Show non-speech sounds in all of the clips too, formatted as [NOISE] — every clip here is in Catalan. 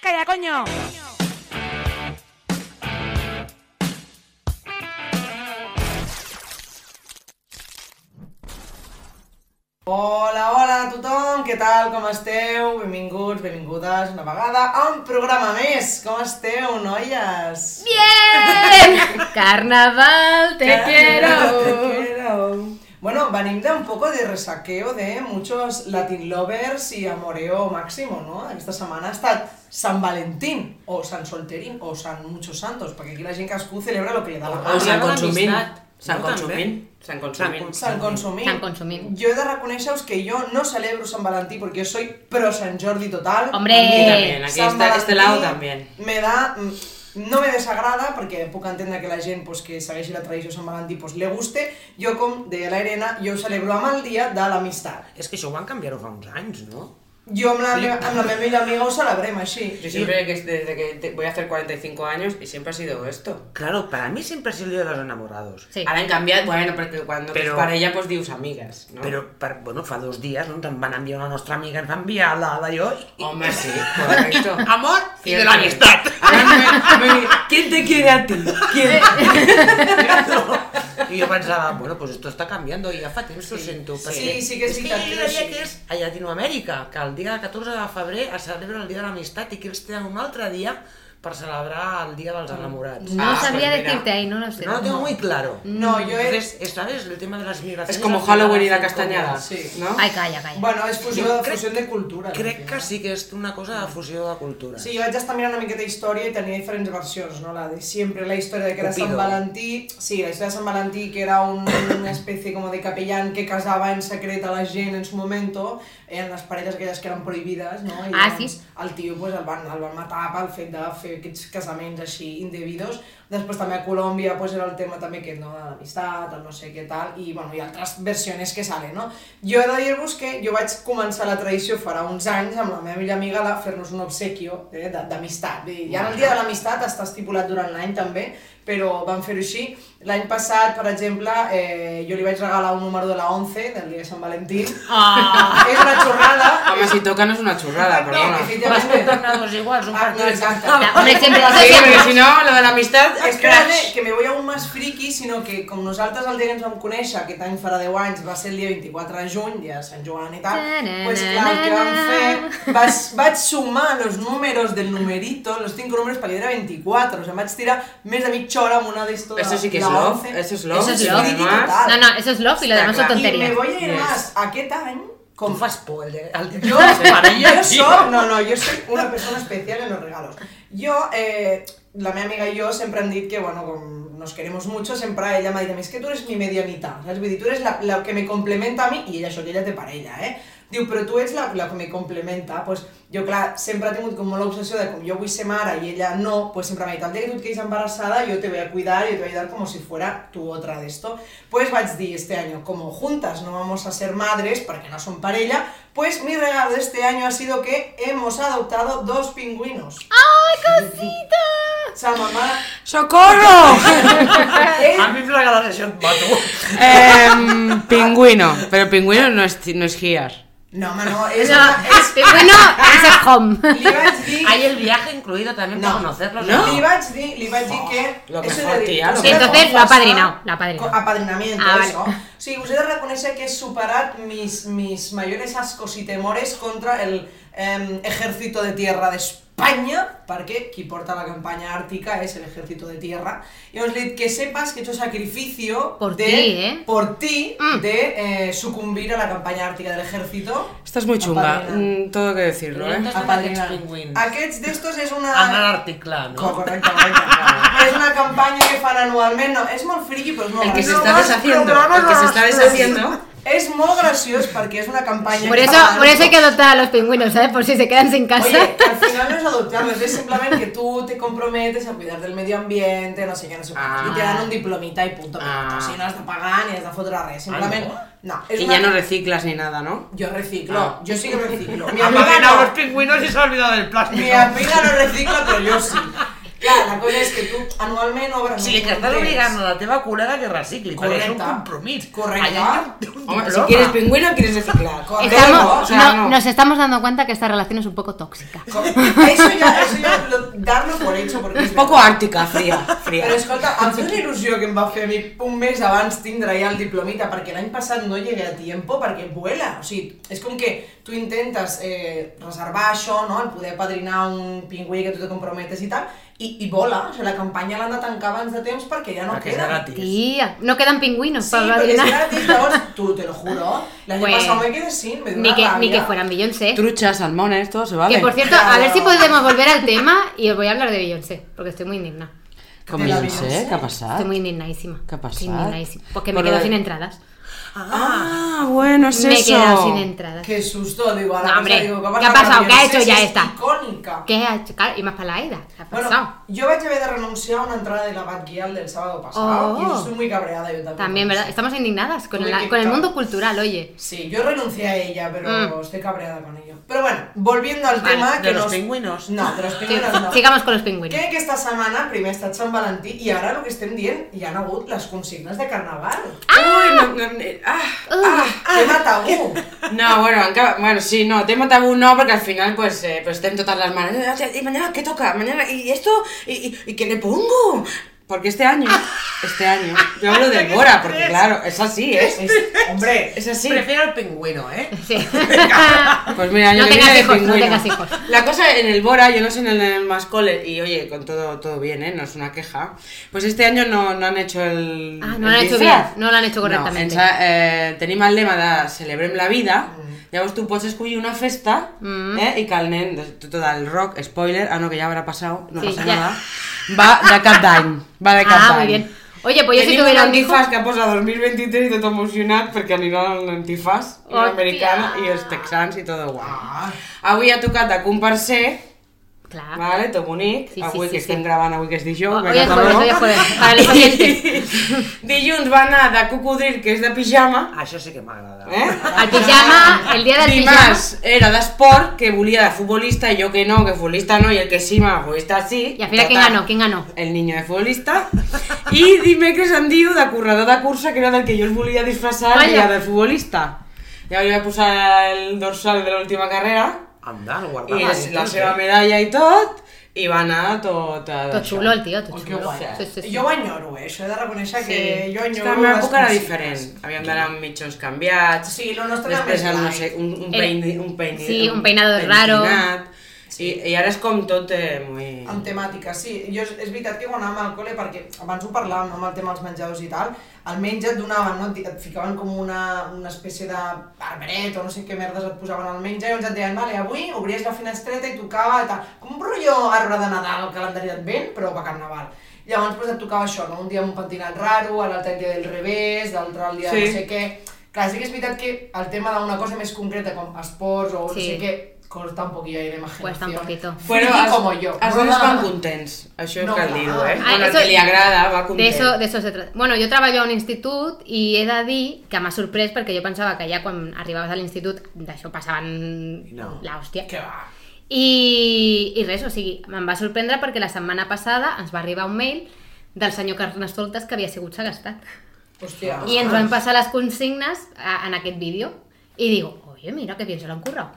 porquería, coño. Hola, hola a tothom, què tal, com esteu? Benvinguts, benvingudes una vegada a un programa més. Com esteu, noies? ¡Bien! [LAUGHS] Carnaval, te Ah, Te quiero. quiero. Bueno, venim d'un poco de resaqueo de muchos Latin lovers i amoreo máximo, ¿no? Aquesta setmana ha estat San Valentín, o San Solterín, o San Muchos Santos, perquè aquí la gent cadascú celebra lo que li da la O gana. Sant Dia de Consumint. l'amistat. Sant No, també. Consumint. Sant Consumint. San Consumín. San Consumín. Jo he de reconèixer-vos que jo no celebro Sant Valentí perquè jo soy pro Sant Jordi total. Hombre. Aquí también, aquí San está, de este lado Valentí también. Me da... mm, No me desagrada, perquè puc entendre que la gent pues, que segueixi la tradició de Sant Valentí pues, le guste. Jo, com deia la Irene, jo celebro amb el dia de l'amistat. És que això ho van canviar fa uns anys, no? Jo amb la, sí. amb la meva millor amiga ho celebrem així. Yo siempre, que, desde que te- voy a hacer 45 años, y siempre ha sido esto. Claro, para mí siempre ha sido el día de los enamorados. Sí. Ahora en cambio, bueno, porque cuando Pero- es para ella, pues dius amigas, ¿no? Però, per, bueno, fa dos dies no, em van enviar una nostra amiga, ens va enviar la d'allò i... Hombre, sí, [LAUGHS] correcto. Ah, Amor i de Cierto. l'amistat. Ahora me- [LAUGHS] me- ¿Quién te quiere a ti? ¿Quién? I jo pensava, bueno, pues esto está cambiando, i ja fa temps que ho sento. perquè- sí que és és veritat, que que jo és diria així. que és a Llatinoamèrica, que el dia 14 de febrer es celebra el dia de l'amistat i que ells tenen un altre dia per celebrar el dia dels enamorats. No Ah, sabría pues mira. decirte ahí, no lo sé. No lo tengo muy claro. No, yo he... Entonces, ¿sabes? El tema de las pues migraciones... Es como al final Halloween y la hacen castañada, como- Sí. ¿no? Ay, calla, calla. Bueno, és fusió, Jo crec- fusió de cultura. Crec que sí que és una cosa de fusió de cultura. Sí, jo vaig estar mirant una miqueta història i tenia diferents versions, no? La de sempre, la història de que era Cupido. Sant Valentí... Sí, la història de Sant Valentí, que era un, una especie como de capellán que casaba en secret a la gent en su momento, en les parelles aquelles que eren prohibides, no? I Ah, llavors sí. El tio pues, el, van, el van matar pel fet de fer aquests casaments així indebidos. Després també a Colòmbia pues, era el tema també aquest, no? De l'amistat, el no sé què tal, i, bueno, hi ha altres versions que salen, no? Jo he de dir-vos que jo vaig començar la tradició farà uns anys amb la meva millor amiga de fer-nos un obsequio eh, de- d'amistat. Vull dir, Ja en el dia de l'amistat està estipulat durant l'any també, però vam fer-ho així. L'any passat, per exemple, eh, jo li vaig regalar un número de la 11, del dia de Sant Valentí. Ah. És una xorrada. Hombre, si toca no es una churrada, No, perdona. efectivamente. Tornados igual, son Ah, no, partidos... exacte. Ya, Hombre, siempre, eso Sí, siempre. porque si no, lo de la amistad es Espera't, crash. que me voy aún més friki, sinó que com nosaltres el dia que ens vam conèixer, aquest any farà 10 anys, va ser el dia 24 de juny, dia de Sant Joan i tal, Ta-na-na-na. pues clar, el que vam fer, vaig, vaig sumar los números del numerito, los 5 números, perquè era 24, o sigui, em vaig tirar més de mitja hora amb una d'esto de Eso sí que es la love, 11. eso es love. Eso es y love. lo demás- No, no, eso es love y lo Está demás son claro. I me tonterías. voy a ir Yes. más, aquest any, Com com fas por el de... [LAUGHS] El... [LAUGHS] Yo, yo soy, no, no, yo soy una persona especial en los regalos. Yo, eh, la mi amiga y yo siempre han dicho que, bueno, com nos queremos mucho, siempre ella me dice, es que tú eres mi medianita, ¿sabes? Vull dir, tú eres la, la que me complementa a mí, y ella, això que ella té parella, eh? Diu, però tu ets la, la que me complementa. Pues, jo, clar, sempre he tingut com molt l'obsessió de com jo vull ser mare i ella no, pues sempre m'ha dit, el dia que tu et quedis embarassada jo te voy a cuidar y te voy a ayudar como si fuera tu otra de esto. Pues vaig dir este año, como juntas no vamos a ser madres porque no son parella, pues mi regalo de este año ha sido que hemos adoptado dos pingüinos. [LAUGHS] ¡Ay, cosita! O sea, mamá, ¡Socorro! eh, A mi em regales això et mato. [LAUGHS] Em, pingüino, pero pingüino no es, no es Gear. No, home, no, és... No, és este, bueno, ese es home. li vaig dir... Hay el viaje incluido también para conocerlos. Li vaig dir, li vaig dir que... Lo eso mejor, de- tía, lo us he de mejor. Entonces, lo ha confessar- apadrinado, lo ha apadrinado. co- Apadrinamiento, Ah, vale. eso. O sigui, us he de reconèixer que he superat mis, mis mayores ascos y temores contra el eh, ejército de tierra d'Espanya, perquè qui porta la campanya àrtica és el ejército de tierra. I us dit que sepas que he hecho sacrificio Por de, ti, eh? por ti Mm. de eh, sucumbir a la campanya àrtica del ejército. Estás muy chunga, Apadrinar. mm, todo que decirlo, ¿eh? Apadrinar. Anar Aquests d'estos és una... a l'article, no? Co- Correcte, correcte. és una campanya que fan anualment, no, és molt friqui, però és molt El que se graciós. está deshaciendo, el que se está deshaciendo. És molt graciós perquè és una campanya Por que eso, fan por eso hay que adoptar a los pingüinos, ¿sabes? Por si se quedan sin casa. Oye, que al final no es adoptarlos, es simplemente que tú te comprometes a cuidar del medio ambiente, no sé qué, no sé qué. Ah. Y te dan un diplomita y punto. Ah. O sigui, no has de pagar ni has de fotre res, simplement... no? és Y una... ya no reciclas ni nada, ¿no? Jo reciclo, Ah. jo sí que [LAUGHS] reciclo. Mi Ha amiga pagado no. los pingüinos y se ha olvidado del plástico. Mi amiga no recicla, pero yo sí. Clar, la cosa és que tu anualment obres O sigui, que estàs obligant a la teva col·lega que recicli, perquè és un Correcte. compromís. Correcte. Allà hi ha un- un Hombre, si diploma. quieres pingüino, quieres reciclar. Estamos- o sea, no, no. Nos estamos dando cuenta que esta relación es un poco tóxica. Eso ya, eso ya, lo- darlo por hecho, porque Un poco ártica, fría, fría. Però escolta, em fa una il·lusió que em va fer a mi un mes abans tindre ja el diplomita, perquè l'any passat no llegué a tiempo, perquè vuela. O sigui, és com que tu intentes eh, reservar això, no? el poder padrinar un pingüí que tu te comprometes i tal, i, i vola. O sigui, la campanya l'han de tancar abans de temps perquè ja no Perquè és queda. gratis. Tía, no quedan pingüinos Sí, para perquè és rellenar. gratis, llavors, tu, te lo juro, l'any Bueno, passat me quedé sin, me dio Ni una que, rabia. ni que fueran Beyoncé. Trucha, salmones, todo se vale. Que por cierto, a Claro. ver si podemos volver al tema y os voy a hablar de Beyoncé, porque estoy muy indigna. Com De la no sé, Beyoncé. què ha passat? Estoy muy indignadísima. ¿Qué ha pasado? Estoy indignadísima, Porque me Por lo quedo de- sin entradas. Ah, Ah, bueno, es me he eso. quedado sin entradas. Que susto, digo, a la No, cosa, hombre, digo, ¿qué ha pasar pasado? con ¿Qué ha Beyoncé hecho ya si es esta? Icónica. ¿Qué ha hecho? Claro, y más para la Aida. ¿Qué ha Bueno, pasado? yo voy a haber de renunciar a una entrada de la Batguial del sábado pasado Oh. y estoy muy cabreada yo también. También, ¿verdad? Estamos indignadas con Uy, el, qué con el caos. mundo cultural, oye. Sí, yo renuncié a ella, pero Mm. estoy cabreada con ello. Pero bueno, volviendo al Vale, tema de que los nos- pingüinos. No, de los Sí, pingüinos no. Sigamos con los pingüinos. Que, que esta semana primer ha estat Sant Valentí i ara el que estem dient hi han hagut les consignes de carnaval. Uy, no, no, eh, ah, Uh, ah, Tema [LAUGHS] tabú. No, bueno, encara- bueno, sí, no, tema tabú no, porque al final, pues, eh, pues tengo todas las manos. O sea, ¿Y mañana qué toca? ¿Mañana? ¿Y esto? ¿Y, y, y qué le pongo? Porque este año, este año, yo hablo [LAUGHS] de Mora, porque claro, es así, ¿eh? És, hombre, Es así. prefiero el pingüino, ¿eh? Sí. [LAUGHS] Ah, Pues mira, yo No que tengas viene de hijos, no pingüino. tengas hijos. La cosa en el Bora, yo no sé en el, en el Mascole, y oye, con todo, todo bien, ¿eh? No es una queja. Pues este año no, no han hecho el. Ah, no el lo han hecho bien, disfraz. no lo han hecho correctamente. No, en sa- eh, tenim el lema de celebrem la vida, llavors tu pots escollir una festa Mm. eh, i que el nen, tot el rock, spoiler, ah no, que ja haurà passat, no Sí, passa ja. nada, va de cap d'any. Va de cap ah, d'any. muy bien. Oye, pues yo si Tenim tuviera un hijo... antifàs que posa 2023 i tot emocionat perquè anirà a l'antifàs i Hòstia. l'americana i els texans i tot guau. ah, Avui ha tocat de comparser, Claro. vale, tot bonic, Sí, sí, avui sí, que sí. estem gravant, avui que és dijous. Hoy que es jueves, acabem. hoy es jueves. Para los oyentes. [LAUGHS] Dilluns va anar de cocodril, que és de pijama, Ah, Això sí que m'agrada. eh? Al pijama, el día del pijama. Dimarts era d'esport, que volia de futbolista, i jo que no, que futbolista no, i el que sí, mà, futbolista sí. Y al final, ¿quién Total, ganó? ¿Quién ganó? el niño de futbolista i dimecres em diu de corredor de cursa que era del que jo els volia disfressar el Vaya. dia de futbolista llavors li vaig posar el dorsal de l'última carrera Anda, lo i guardava. la doncs seva medalla i tot i va anar tot eh, a Todo chulo el tío, todo Ui, que chulo. guai. Sí, sí, sí. Jo ho enyoro, eh? Això he de reconèixer que Sí. jo és enyoro que la meva les època era consignes. diferent havíem d'anar amb mitjons canviats Sí, lo nostre era després més amb, no light. sé, un, un, Eh, pein, un, pein, sí, un peinado raro. pentinat. I, i ara és com tot eh, muy... Amb temàtica, sí. Jo, és- és veritat que quan anàvem al col·le, perquè abans ho parlàvem, no, amb el tema dels menjadors i tal, al menys et donaven, no? Et- et ficaven com una, una espècie de arbret o no sé què merdes et posaven al menja i llavors et deien, vale, avui obries la finestreta i tocava tal. Com un rotllo arbre de Nadal, el calendari d'advent, però per carnaval. Llavors pues, et tocava això, no? un dia amb un pentinat raro, a l'altre el dia del revés, l'altre el dia Sí. sí. no sé què... Clar, sí que és veritat que el tema d'una cosa més concreta com esports o no sé Sí. què, costa un poquillo ahí la imaginación. Cuesta un poquito. Bueno, els, como yo. els dones van contents, això és No, que el clar. diu, eh? Ah, Quan el eso- que li agrada va content. De eso, de eso se trata. Bueno, jo treballo a un institut i he de dir que m'ha sorprès perquè jo pensava que ja quan arribaves a l'institut d'això passaven No. la hòstia. Que va. I, I res, o sigui, em va sorprendre perquè la setmana passada ens va arribar un mail del senyor Carnestoltes que havia sigut segrestat. Hòstia. I ens van passar les consignes a, en aquest vídeo. I digo, oye, mira, que bien se l'han currat.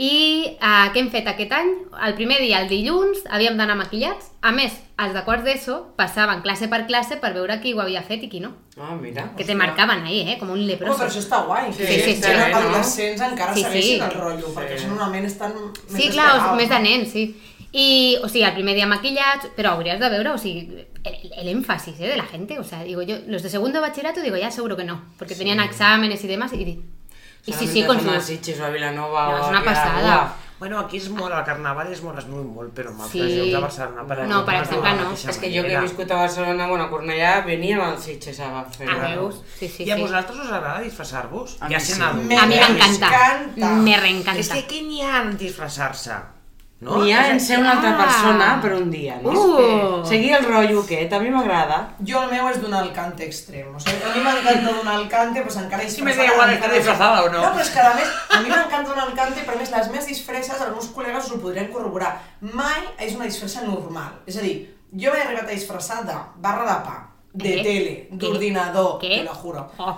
I eh, què hem fet aquest any? El primer dia, el dilluns, havíem d'anar maquillats. A més, els de quarts d'ESO passaven classe per classe per veure qui ho havia fet i qui no. Ah, mira. Que te Hòstia. marcaven ahí, eh? Com un Però, però leproso. això està guai. Sí, que sí, els sí. nens No? adolescents encara Sí, sí, sí. segueixin el rotllo, sí. perquè Sí. això normalment estan més Sí, clar, o, despegats, més de no? nen, sí. I, o sigui, el primer dia maquillats, però hauries de veure, o sigui, el, el énfasis eh, de la gente, o sea, digo yo, los de segundo de bachillerato, digo, ya seguro que no, porque tenían exámenes y demás, y, di- y sí, sí, con Solamente sus... son a Sitges o a Vilanova No, o és a una Vilanova. passada. Bueno, aquí és molt, el carnaval és molt, es mou molt, però en altres Sí. sí. llocs de Barcelona, per No, exemple, per exemple, de la no. mateixa És que jo que he manera. viscut a Barcelona, bueno, a Cornellà, veníem als Sitges a fer A la- veus, Ah, sí, sí, I a sí. vosaltres us agrada disfressar-vos? A Ja mi sent sí. adults. Me A mí me encanta. encanta. Me reencanta. És que aquí n'hi ha en disfressar-se. No? N'hi ha en ser una altra Ah. persona per un dia, no? Uh. Seguir el rotllo aquest, a mi m'agrada. Jo el meu és d'un alcante extrem. O sigui, a mi m'encanta d'un alcante, però encara Sí, me da igual estar disfrazada o no. No, però és que a més, a mi m'encanta d'un alcante, però a més les meves disfresses, els meus col·legues us ho podrien corroborar. Mai és una disfressa normal. És a dir, Jo vaig arribar a disfressar de barra de pa, de Què? tele, Què? d'ordinador, Què? te lo juro. Oh,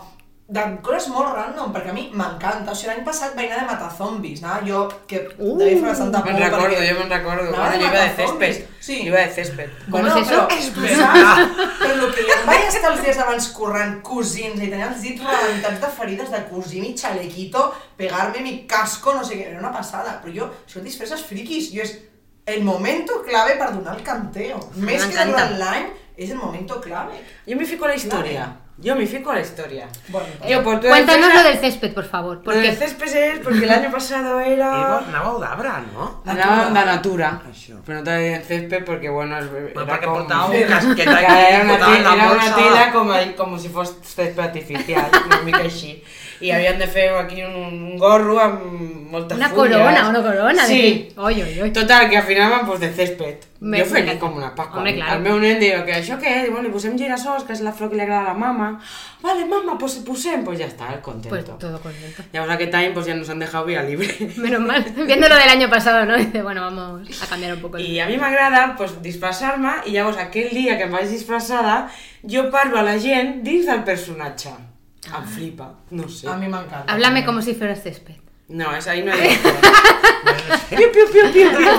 De coses molt random, perquè a mi m'encanta. O sigui, l'any passat vaig anar de matar zombis, anava jo, que Uh, devia fer bastanta por. Me recuerdo, perquè yo me recuerdo. anava Bueno, yo iba matar de zombis. césped. Sí. Yo iba de césped. Bueno, Bueno, és però, Ah. això. tu saps? Però el que jo em vaig estar els dies abans corrent cosins i tenia els dits rebentats de ferides de cosí, mi chalequito, pegar-me mi casco, no sé què, era una passada. Però jo, això et disfresses friquis, jo és el momento clave per donar el canteo. Més que m'encanta. durant l'any, és el momento clave. Yo me fico a la historia. Yo me fico a la historia. Bueno, pues, Yo, por tu Cuéntanos lo defensa- Eh, del césped, por favor. Lo del Porque césped es porque el año pasado Eva, [LAUGHS] era... anàveu d'arbre, no? Andaban de natura. Això. Pero no te en césped porque, bueno, es- Bueno, era perquè como... portava un [LAUGHS] casquet aquí, Era una, portava en tela, la era una bolsa. tela com, a- com si fos césped artificial, [LAUGHS] una mica així. I havien de fer aquí un, un gorro amb moltes una fulles. corona, una corona. Sí. De... Oi, oi, oi. Total, que al final van pues, de césped. Me- jo feliç m'encanta. com una paca. Home, claro. El meu nen diu que això què és? I bueno, li posem girassols, que és la flor que li agrada a la mama. Vale, mama, pues hi posem. Pues ja està, el Pues contento. todo contento. [LAUGHS] Llavors aquest any pues, ja nos han dejado [LAUGHS] vía libre. Menos [LAUGHS] mal. Viendo lo del año pasado, ¿no? Dice, bueno, vamos a cambiar un poco. el- I a mi m'agrada pues, disfressar-me i llavors aquell dia que em vaig disfressada jo parlo a la gent dins del personatge. Em flipa, no sé. Ah. a mi m'encanta. Háblame como si fuera césped. No, [LAUGHS] és ahí no hi ha. piu, piu, piu, piu, piu.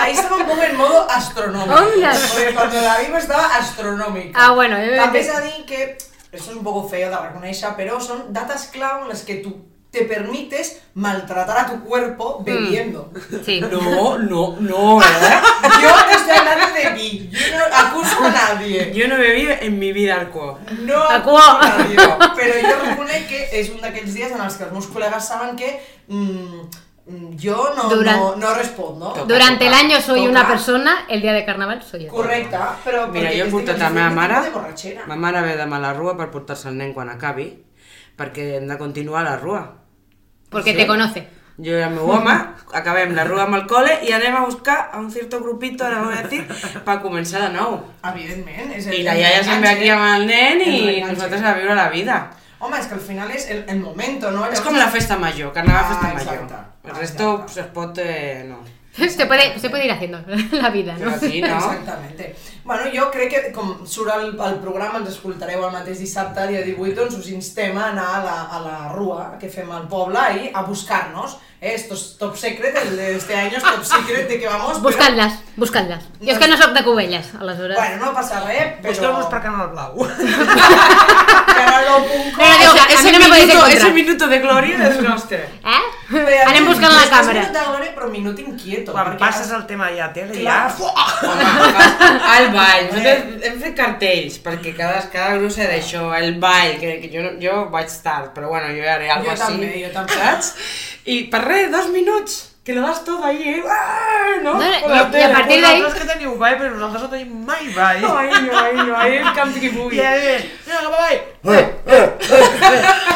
Ahí estaba un poco en modo astronómico. Hola. Porque cuando la vimos estaba astronómica. Ah, bueno, eh, També eh, és a dir que, això és un poco feo de reconèixer, però són dates clau en les que tu te permites maltratar a tu cuerpo Hmm. bebiendo. Sí. No, no, no, eh. ¿verdad? Yo no estoy hablando de mí, yo no acuso a nadie. Yo no bebí en mi vida alcohol. No Acuo. acuso a nadie. Però jo reconec que és un d'aquells dies en els que els meus col·legues saben que mm, mm, jo no, Durant- no, no respondo. Toca, Durante el toca, año soy toca. una persona, el día de carnaval soy otra. Correcte, però... Mira, perquè jo he és portat d'aquells la meva tipus mare, de borratxera. ma mare ve de mala rua per portar-se el nen quan acabi, perquè hem de continuar la rua. Porque te conoce. [LAUGHS] Jo i el meu home acabem la rua amb el cole i anem a buscar a un cierto grupito, ara ho vull dir, per començar de nou. Evidentment. És I la iaia sempre aquí amb el nen i Enganxa. nosaltres a viure la vida. Home, és que al final és el, el momento, no? És com la festa major, carnaval Ah, festa exacte. major. El Ah, resto exacte. pues, es pot... Eh, no. Se puede, se puede ir haciendo [LAUGHS] la vida, Però ¿no? aquí no. Exactament. Bueno, jo crec que com surt el, el programa, ens escoltareu el mateix dissabte, dia 18, doncs us instem a anar a la, a la rua que fem al poble i a buscar-nos. Eh, esto es top secret, el de este año es top secret de que vamos. però- Buscadlas, buscadlas. Yo es que no soy de Cubellas, a las horas. Bueno, no passa res, però... Busqueu-nos per Canal Blau. [LAUGHS] Canalo.com. Pero digo, a mí no me podéis minuto, encontrar. ese minuto de gloria és nostre. ¿Eh? Anem buscant la càmera. Després de gloria, però minut inquieto. Quan perquè passes el tema ja a tele, Clar. ja... Home, vas al ball. Nosaltres hem fet cartells, perquè cada, cada grup se d'això, el ball, que, que jo, no- jo vaig tard, però bueno, jo haré alguna Jo cosa així. també, jo també. Saps? I per res, dos minuts, que lo das tot ahí, eh? Ah, no? No, i- Con la i tele. a partir d'ahí- Vosaltres que teniu ball, però nosaltres no tenim mai ball. Ai, ai, ai, el camp que vull. I ara dius, mira, que va ball.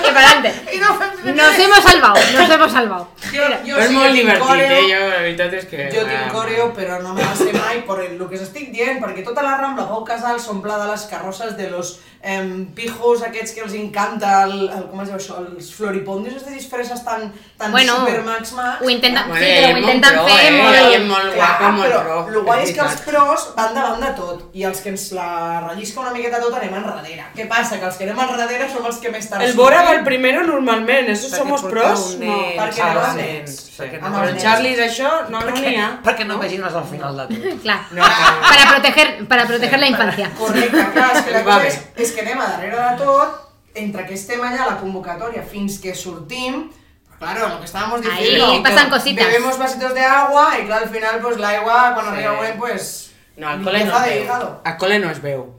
Y para adelante. I no fem Nos hemos salvado, nos hemos salvado. Jo, jo Però és sí que molt tinc divertit, coreo, eh? Jo, la veritat és que... Jo tinc coreo, però no me la sé mai per el que us estic dient, perquè tota la Rambla Pau Casal s'omple de les carrosses de los em, pijos aquests que els encanta, el, el, com es diu això, els floripondis, aquests disfresses tan, tan Bueno, supermax max. Ho intenten, Bueno, sí, però ho molt intenten pro, fer eh? molt... Ell és molt Clar, guapo, molt però pro. el guai és que els veritat. pros van davant de tot i els que ens la rellisca una miqueta tot anem enrere. Què passa? Que els que anem enrere som els que més tard El Bora va surten. el primero normalment, esos Perquè somos porta pros. un No, nen, perquè Ah, va sí, nens, sí. perquè Amb no va el nens. Charlie això no no n'hi ha. Perquè no imagines al final de tot. Clar, No, no. para proteger, para proteger la [LAUGHS] infancia. Correcte, clar, és que la Va cosa bé. és, és que anem a darrere de tot, entre que estem allà a la convocatòria fins que sortim, Claro, lo que estábamos Ahí diciendo. pasan cositas. Bebemos vasitos de agua y claro, al final, pues la agua, cuando Sí. arriba bueno, pues... No, al cole no limpieza es de veu. hígado. Al cole no es veu.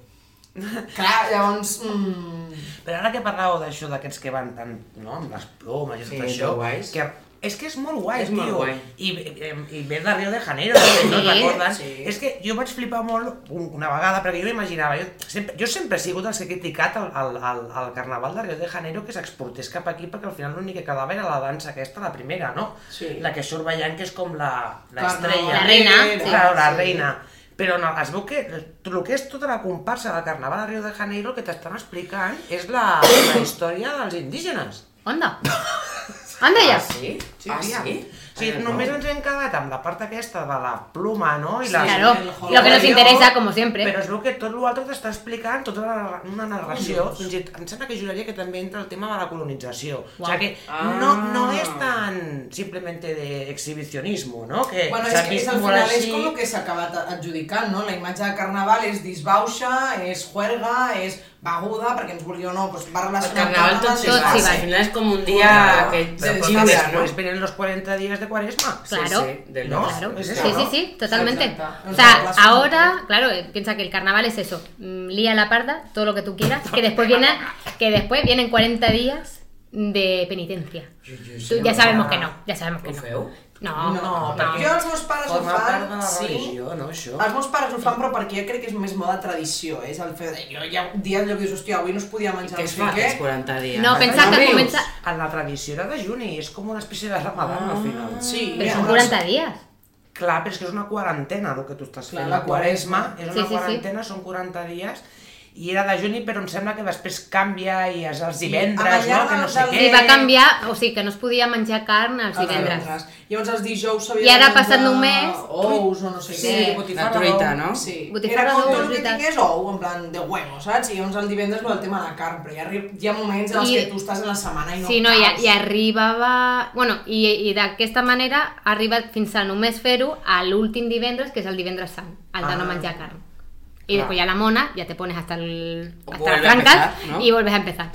Clar, llavors... Mm, Però ara que parlàveu d'això, d'aquests que van tan, no, amb les plomes i Sí, tot això, molt guais. que és que és molt guai, És molt tio. guai. I, i, I ve de Rio de Janeiro, no, no Sí, recorden? sí. És que jo vaig flipar molt un- una vegada, perquè jo m'imaginava, jo sempre, jo sempre he sigut els que he criticat el, el, el, el carnaval de Rio de Janeiro que s'exportés cap aquí, perquè al final l'únic que quedava era la dansa aquesta, la primera, no? Sí. La que surt ballant, que és com la, la clar, no, estrella. La reina, sí. Claro, la reina. Però no, es veu que el que és tota la comparsa del Carnaval a Rio de Janeiro el que t'estan explicant és la, la història dels indígenes. Onda. Onda ya. Ah, sí? tia. sigui, només ens hem quedat amb la part aquesta de la pluma, no? I la... Claro, el lo que nos jolgorio, interesa, como siempre. Però es veu que tot l'altre t'està explicant tota la, narra- una narració. Fins i tot, em sembla que juraria que també entra el tema de la colonització. O Uau. sigui que no, no Ah. és tan simplemente de exhibicionismo, no? Que Bueno, Eh, s'ha és que és, vist al molt final és així. com el que s'ha acabat adjudicant, no? La imatge de carnaval és disbauxa, és juerga, és beguda, perquè ens vulgui o no, doncs va El relacionat carnaval tot s'hi Tot va. s'hi Al va. final és com un dia que Sí, Però però sí, que sí, lliure, després ¿no? venen los 40 días de cuaresma. Claro. Sí, sí, del No, claro. es Sí, eso, sí, ¿no? sí, totalmente. Exacto. O sea, Las- ahora, claro, eh, piensa que el carnaval es eso, mm, lía la parda, todo lo que tú quieras, que después viene, que después vienen 40 días de penitencia. Tú- ya sabemos que no, ya sabemos que Qué no. feo. No, No, no, perquè jo els meus pares ho Forma part de fan, la sí, religió, no, això? els meus pares ho fan, però perquè jo crec que és més moda tradició, eh? és el fet de... Jo hi ha dies allò que dius, hòstia, avui no es podia menjar, Que no es sé fa aquests què. 40 dies. No, pensar que Rius. comença- En la tradició era de juni, és com una espècie de ramadà, Ah. al final. Sí, pero son llavors- 40 días. Clar, però és que és una quarantena el que tu estàs Clar, fent. la La quaresma Sí, és sí, una sí. quarantena, són 40 dies, i era de juni, però em sembla que després canvia i és els amb divendres, allà no? Que no sé del- què. Sí, va canviar, o sigui que no es podia menjar carn els divendres. Llavors els dijous s'havia I ara de menjar passat només- Ous o no sé Sí, què. botifarra La truita, d'ou. no? Sí. Botifarra Era com d'ou, tot el que veritat. tingués ou, en plan de huevo, saps? I llavors el divendres el tema de la carn, però hi ha, arri- hi ha moments en els I- que tu estàs en la setmana i no Sí, no, i, caus. i arribava... Bueno, i, i d'aquesta manera arriba fins a només fer-ho a l'últim divendres, que és el divendres sant, el de Ah. no menjar carn. I Clar. después ya la mona, ya te pones hasta, el, hasta O las vuelve a trancas empezar, ¿no? y vuelves a empezar.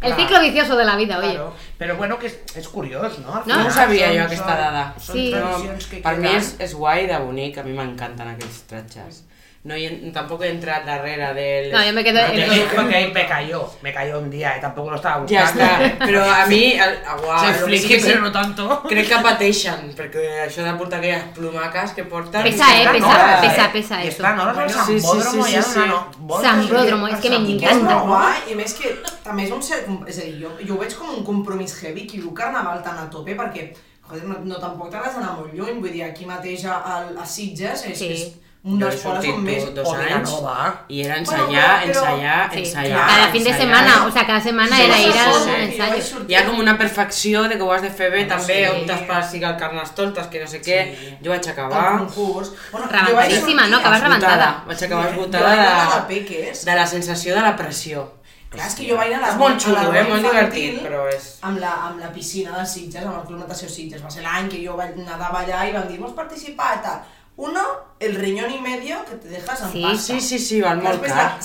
El Claro. ciclo vicioso de la vida, oye. Claro. Però bueno, que és, és curiós, no? Al No? final No ho sabia són- jo, aquesta són- dada. Són Sí. tradicions que per mi queden. és, és guai de bonic, a mi m'encanten aquests tratges. No, hi, he- tampoc he entrat darrere del... No, jo me quedo No te en digo porque me cayó, me cayó un día y tampoco lo estaba Ja buscando. ah, està, però a mi... El, uau, Se el que sí fliqué, que sí- pero no tanto. Crec que pateixen, perquè això de portar aquelles plumaques que porten... Pesa, eh, Están pesa, horas, pesa, eh. pesa Y eso. están horas Bueno, al sí, sí, Sambódromo sí, ya sí, una sí. no- bodas Sambódromo, que es que me pasan. I que és encanta. molt guai, i més que també és un cert... com- És a dir, jo, jo ho veig com un compromís heavy qui viu carnaval tan a tope, perquè joder, no, no tampoc t'has d'anar molt lluny, vull dir, aquí mateix a, a, a Sitges és, Sí. és un Jo he dels pobles sortit on més... do- dos o de la anys nova. i era Bueno, ensayar, però- ensayar, Sí, ensayar, cada fin de ensayar. semana, o sea, cada semana Sí, era sí, ir al sí, sí. ensayo. Hi ha com una perfecció de que ho has de fer bé, també, Ah, sí. optes per si el carnestoltes, que no sé què, jo vaig acabar... al concurs. Bueno, jo vaig Rebentadíssima, sortir no? Acabes a- rebentada. Vaig acabar Sí, esgotada jo vaig anar a la de, Peques. de la sensació de la pressió. Clar, és que jo vaig anar a la És molt xulo, a la eh? Molt infantil divertit, però és... Amb la, amb la piscina de Sitges, amb el Club Natació Sitges. Va ser l'any que jo vaig nedava allà i van dir, vols participar i tal. Uno, el riñón y medio que te dejas en Sí, pasta. Sí, sí, sí, val molt Després, car. la-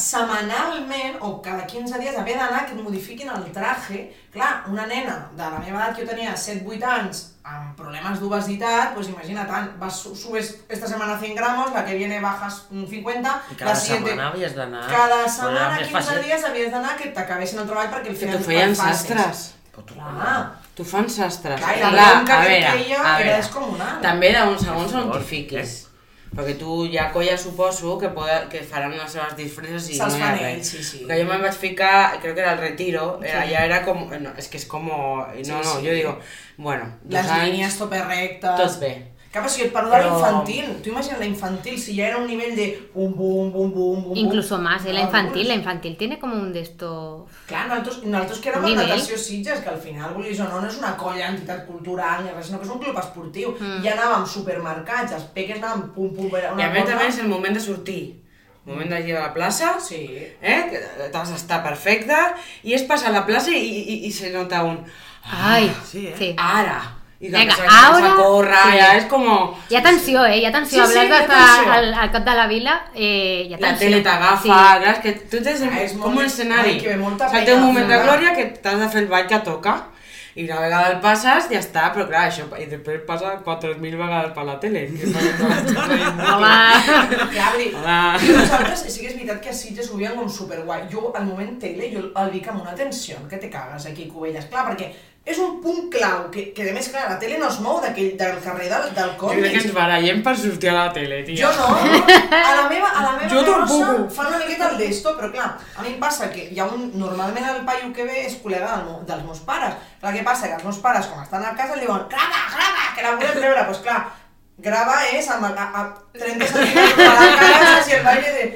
setmanalment, o cada 15 dies, haver d'anar que et modifiquin el traje. Clar, una nena de la meva edat, que jo tenia 7-8 anys, amb problemes d'obesitat, pues imagina tant, vas, su- subes esta semana 100 gramos, la que viene bajas un 50, I cada la siguiente... setmana havies d'anar. Cada Bueno, setmana, més 15 fàcil. dies, havies d'anar que t'acabessin el treball perquè el Que feien t'ho feien per fases. sastres. Però tu- Clar, T'ho fan sastres. clar, i la Clar, bronca a que veure, feia a era veure. descomunal. També d'un segon on t'hi favor, fiquis. Perquè tu ja colla suposo que, poda, que faran les seves disfresses i Se'ls no hi ha fan res. ells, sí, sí. Que jo me'n vaig ficar, crec que era el retiro, sí. allà era com... No, és que és com... No, no, sí. jo digo, bueno, dos les anys... línies tope rectes... Tot bé. Clar, però si et parlo de Però- l'infantil, tu imagina la infantil, si ja era un nivell de bum, bum, bum, bum, bum... Incluso bum. más, ¿eh? la Ah, infantil, bum. la infantil tiene como un de estos... Clar, nosaltres, nosaltres que érem a Un nivell. Natació Sitges, que al final, vulguis o no, no és una colla, entitat cultural, ni res, sinó que és un club esportiu. Mm. I anàvem supermercats, els peques anàvem pum, pum, era I una a més cosa- també [LAUGHS] és el moment de sortir. El moment d'aller a la plaça, Sí. eh? que t'has d'estar perfecte, i és passar a la plaça i, i, i se nota un... Ah, Ay, sí, ¿eh? sí. Ara! I que Venga, Venga, ahora... ara, a córrer, sí. sí. ja és com... Ja tensió, eh? Ja tensió. Sí, sí, Hablar ja d'estar tensió. al, al cap de la vila, eh, ja La tensió. tele t'agafa, Sí. sí. clar, és que tu tens Ah, és ah, com molt- un escenari. ai, que ve molta o sigui, té un pena, moment de clar. glòria que t'has de fer el ball que toca. I una vegada el passes, ja està, però clar, això... I després passa 4.000 vegades per la tele. Que [LAUGHS] Home. Clar, vull dir, Hola. i nosaltres sí que és veritat que a Sitges ho veiem com superguai. Jo, al moment tele, jo el dic amb una tensió, que te cagues aquí, Covelles. Clar, perquè és un punt clau, que, que a més, clar, la tele no es mou d'aquell, del carrer del, del jo crec que còmic. ens barallem per sortir a la tele, tia. Jo [LAUGHS] no, a la meva, a la meva Jo carrossa tampoc. fan una miqueta el d'esto, però clar, a mi em passa que hi ha un, normalment el paio que ve és col·lega del, meu- dels meus pares. Clar, què passa? Que els meus pares, quan estan a casa, li diuen grava, grava, que la volem veure. Doncs pues, clar, grava és amb el, a, a 30 centímetres de la cara, saps? i el baile de...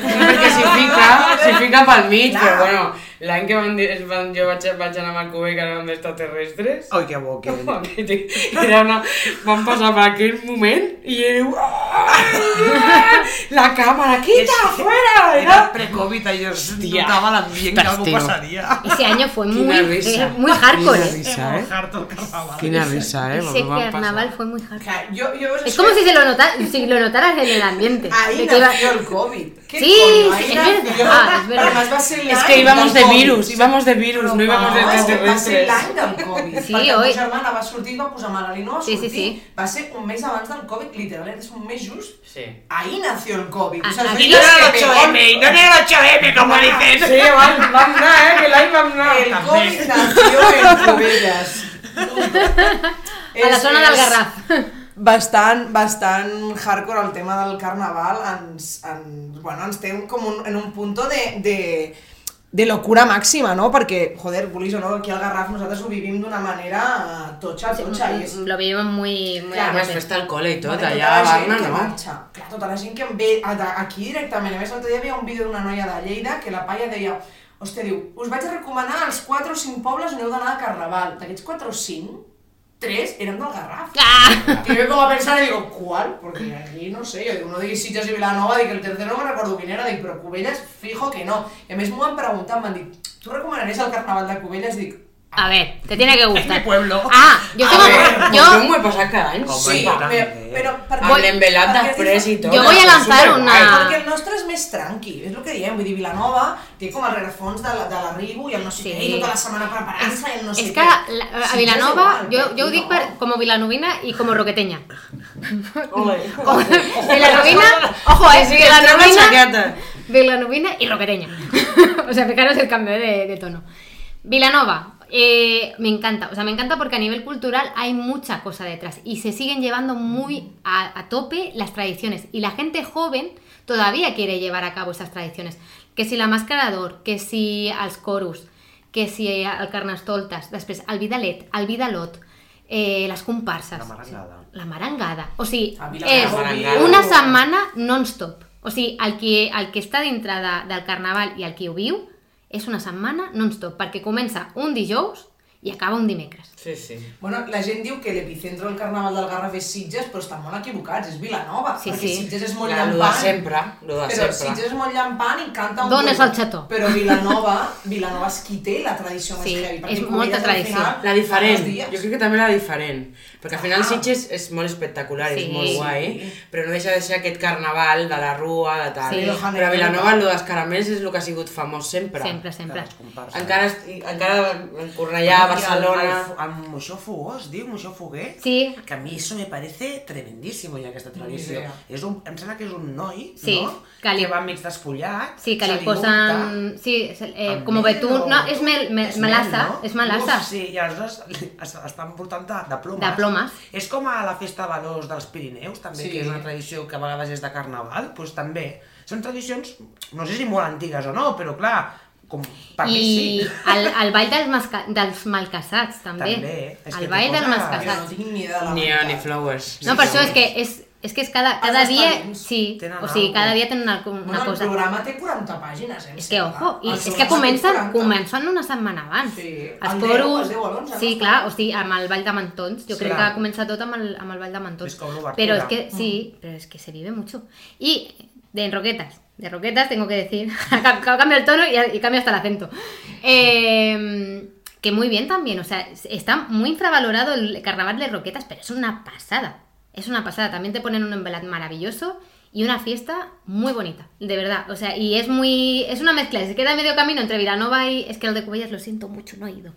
Perquè s'hi fica, s'hi fica pel mig, Clar. però bueno, L'any que van dir, es van, jo vaig, vaig anar amb el cubell que eren d'extraterrestres, Ai, que bo que ell. era una... Van passar per aquell moment i era... "Uah!" La càmera, quita, fuera! Era Era... pre-Covid, allò es Hostia. notava l'ambient que algo Hostia. passaria. Ese año fue muy, Quina risa. eh, muy hardcore, Quina ¿eh? És risa, eh? molt hard el carnaval. Quina risa, eh? Ese lo que va passar. carnaval fue muy hardcore. Claro, yo, yo os Es como si explico- se lo, nota, si lo notaras en el ambiente. Ahí de que iba- nació el COVID. ¿Qué Sí, coño? sí, Ahí es nació. verdad, es verdad. Además va a ser el Es año que íbamos de del COVID. virus, íbamos de virus, no íbamos de No, és que va ser extraterrestres. l'any del Covid. Sí, perquè oi. la meva germana va sortir i va posar malalt i no va Sí, sí, sortir. sí. Va ser un mes abans del Covid, literalment, és un mes just. Sí. Ahí nació el Covid. O sea, Ah, es aquí veritat no era que el 8M, no era el 8M, como dices. Sí, vam, vam anar, eh? Que l'any vam anar. El Covid nació en Cubelles. [LAUGHS] a la zona del Garraf. bastant, bastant hardcore el tema del carnaval ens, ens, bueno, ens té un- com un, en un punto de, de, de locura màxima, no? Perquè, joder, vulguis o no, aquí al Garraf nosaltres ho vivim d'una manera eh, totxa, totxa, i és... Mm, Lo vivimos muy, muy Claro, a Més tope. festa al col·le i tot, Vale, allà a la gent Barna, que no? marxa. Clar, tota la gent que em ve a, de- aquí directament. A més, l'altre dia hi havia un vídeo d'una noia de Lleida que la paia deia Hòstia, diu, us vaig a recomanar els 4 o 5 pobles on heu d'anar a Carnaval. D'aquests 4 o 5, 3 eren del Garraf. Ah, Que yo me pongo a pensar y digo, ¿cuál? Porque aquí no sé, yo digo, no dic Sitges i Vilanova, dic el tercero no me recordo quin era, dic, però Cubelles, fijo que no. I a més m'ho em han preguntat, m'han dit, tu recomanaries el carnaval de Cubelles? Dic, a ver, te tiene que Es mi gustar. pueblo. Ah, yo A tengo. ver, pues yo, jo m'ho he passat cada any. Home, sí, i tant, però, eh? però per Amb l'envelat després i tot. Jo vull és lançar superguai. una- Perquè el nostre és més tranqui, és el que diem, vull dir, Vilanova té com el rerefons de la- de l'arribo i el no sé Sí. què, i tota la setmana preparant-se i el no sé es que què. a, la- a Sí, Vilanova, és igual, yo, però yo aquí digo no. como vilanovina y como roqueteña. Ole. Vilanovina, ojo, eh, es Sí, sí, entró una Vilanovina, chaqueta. Vilanovina y roqueteña. [LAUGHS] o sea, fijaros el cambio de, de tono. Vilanova, eh, me encanta, o sea, me encanta porque a nivel cultural hay mucha cosa detrás y se siguen llevando muy a, a tope las tradiciones y la gente joven todavía quiere llevar a cabo esas tradiciones. Que si la máscara d'or, que si els coros, que si el carnestoltes, després el vidalet, el vidalot, eh, les comparses. La marangada. La marangada. O sigui, A Vilanova, és Marangada. una setmana non-stop. O sigui, el que, el que està dintre de, del carnaval i el que ho viu és una setmana non-stop, perquè comença un dijous i acaba un dimecres. Sí, sí. Bueno, la gent diu que l'epicentre del carnaval del Garraf és Sitges, però estan molt equivocats, és Vilanova, Sí, perquè sí. Sitges és molt Clar, lo de llampant. sempre, lo de Però sempre. Sitges és molt llampant i canta un D'on és huevo. el xató? Però Vilanova, Vilanova és qui té la tradició més Sí, heavy. perquè és Cubelles molta al tradició. final, La diferent, fa dos dies. jo crec que també la diferent, perquè al final Ah. Sitges és molt espectacular, Sí. és molt guai, eh? però no deixa de ser aquest carnaval de la rua, de tal. Sí. Però a Vilanova el dels caramels és el que ha sigut famós sempre. Sempre, sempre. Encara, es- encara en Cornellà, Barcelona... Amb Moixó Fogós, diu Moixó Foguer. Sí, Que a mi eso me parece tremendísimo ja aquesta tradició. idea. És un, em sembla que és un noi, Sí, no? que li- Que va mig despullat. sí que li s'alimenta. posen... Sí, és, eh, Amb com mel betún... o- No, és mel, mel, melassa, mel, no? és melassa. Uf, sí, i aleshores [LAUGHS] li- es- estan portant de, de plomes. De plomes. És com a la festa de valors dels Pirineus, també, Sí. que és una tradició que a vegades és de carnaval, doncs també. Són tradicions, no sé si molt antigues o no, però clar, com per mi I sí. el, el ball dels, masca, dels malcasats, també. També, és que el ball té dels coses- Jo no malcasats. tinc ni idea de la Ni, eh, veritat. ni flowers. No, per això és que és, és que és cada, cada Els dia... estalins Sí, tenen o sigui, alguna cada dia tenen una, una Bueno, cosa. el programa té 40 pàgines, eh? em És que, sembla. ojo, i El és que programa comencen, té 40. comencen una setmana abans. Sí, Els el deu, el coros... deu a l'onze, Sí, no? clar, o sigui, amb el ball de mantons. Jo crec Clar. que comença tot amb el, amb el ball de mantons. És com l'obertura. Pero es que, sí, pero es que se vive mucho. Y de enroquetas, de roquetas tengo que decir, [LAUGHS] Ca- ca- cambio el tono y, y cambio hasta el acento. Eh, que muy bien también, o sea, es- está muy infravalorado el carnaval de roquetas, pero es una pasada. Es una pasada, también te ponen un embelat maravilloso y una fiesta muy bonita, de verdad. O sea, y es muy. Es una mezcla, se queda a medio camino entre Vilanova y. Es que el de Cubillas lo siento mucho, no he ido.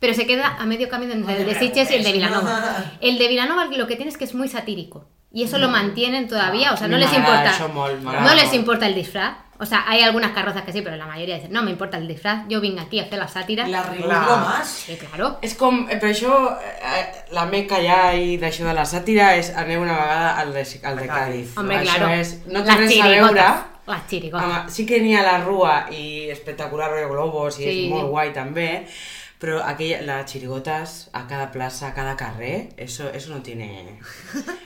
Pero se queda a medio camino entre el de Sitges y el de Vilanova. El de Vilanova lo que tienes que es muy satírico. Y eso lo mantienen todavía. O sea, no les M'agrada importa. això molt, m'agrada no les molt. importa el disfraz. O sea, hay algunas carrozas que sí, pero la mayoría dicen, no me importa el disfraz, yo vengo aquí a hacer la sátira. La riu Clar. lo más. Sí, claro. És com, eh, per això, eh, la meca ja i d'això de la sàtira és aneu una vegada al de, al de Cádiz. Hombre, això claro. és, no té las res a veure, chirigotas. Las Ah, chirigotas. Home, sí que n'hi ha la rua i espectacular de globos i Sí. és molt guai també, Pero aquella, las chirigotas a cada plaza, a cada carré, eso, eso [LAUGHS] no tiene.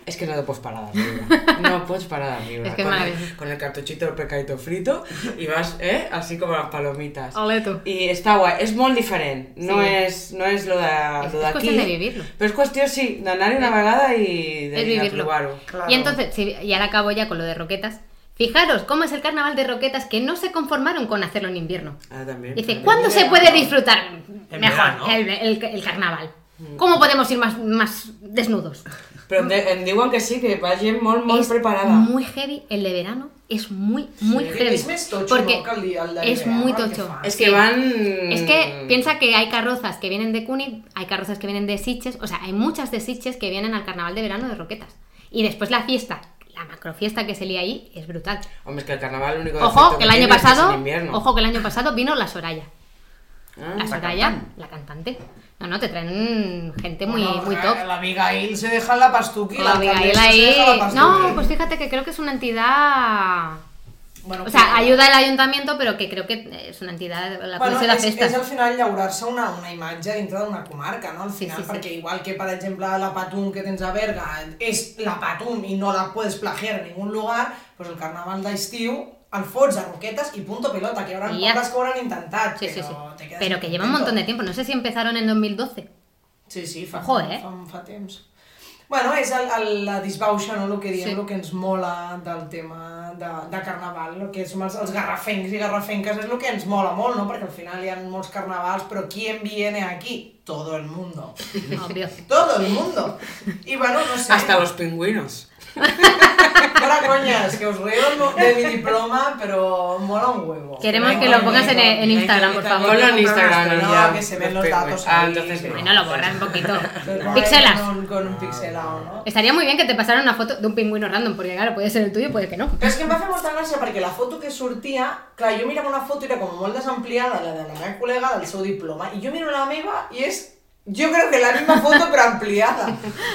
Es que no te puedes parar de arriba. No puedes parar de arriba. Es que con, el, maravilla. con el cartuchito del pescadito frito y vas, ¿eh? Así como las palomitas. Ole, tu. I està guai, és molt diferent, no, Oh. Sí. és, no és lo de, És- lo és d'aquí. qüestió de vivirlo. Però és qüestió, sí, d'anar-hi una vegada i de, es i de vivirlo. provar-ho. Claro. Y entonces, si- y ahora acabo ya con lo de Roquetas. Fijaros cómo es el carnaval de Roquetas que no se conformaron con hacerlo en invierno. Ah, també. Dice, també. ¿cuándo se puede disfrutar En verano. mejor el, el- el carnaval? Mm. ¿Cómo podemos ir más, más desnudos? Però em, de, em diuen que sí, que va gent molt, molt es preparada. muy heavy, el de verano es muy, muy Sí, heavy. es más tocho, porque ¿no? que el día- el de es verano, muy que tocho. fa. És que Sí. van... Es que piensa que hay carrozas que vienen de Cuni, hay carrozas que vienen de Sitges, o sea, hay muchas de Sitges que vienen al carnaval de verano de Roquetas. Y después la fiesta, la macrofiesta que se lía ahí es brutal. Home, és que el carnaval l'únic defecte Ojo, que el año tiene és que és pasado, en invierno. ojo, que el año pasado vino la Soraya. Ah, La Soraya, la cantante. No, no, te traen gente muy, Bueno, muy la- top. La Abigail se deja la pastuqui. La Abigail alcaldesa se ahí. deja la pastuqui. No, pues fíjate que creo que es una entidad. Bueno, O sea, pues- ayuda al ayuntamiento, pero que creo que es una entidad. La Bueno, Comissió de és, és al Festes. final llaurar-se una, una imatge dintre d'una comarca, no? Al final, sí, sí, sí. sí, perquè igual que, per exemple, la Patum que tens a Berga és la Patum i no la puedes plagiar en ningún lugar, doncs el carnaval d'estiu el fots a roquetes i punto pelota, que hi haurà I ja. poques que ho hauran intentat, Sí, sí, però sí. te quedes Pero que lleva un montón de tiempo. No sé si empezaron en 2012. Sí, sí, fa, Ojo, eh? fa, fa temps. Bueno, és el, el, la disbauxa, no?, el que diem, Sí. sí. el que ens mola del tema de, de carnaval, el que som els, els garrafencs i garrafenques és el que ens mola molt, no?, perquè al final hi ha molts carnavals, però qui viene aquí? Todo el mundo. Obvio. Todo el mundo. I bueno, no sé, Hasta los pingüinos. para coñas, que os río del mo- de mi diploma, però mola un huevo. Queremos Venga, que lo pongas en, venga. en Instagram, por favor. Ponlo en Instagram. No, ya, que se ven los los pingüinos. datos Ah, ahí. entonces no. Bueno, lo borra un poquito. Pero ahí Pixelas. Con, con un pixelado, ¿no? Estaría muy bien que te pasara una foto de un pingüino random, porque claro, puede ser el tuyo, puede que no. Però és que em va fer molta gràcia perquè la foto que sortia, clar, jo mirava una foto i era com molt desampliada la de la meva col·lega del seu diploma, i jo miro la meva i és, jo crec que la misma foto però ampliada.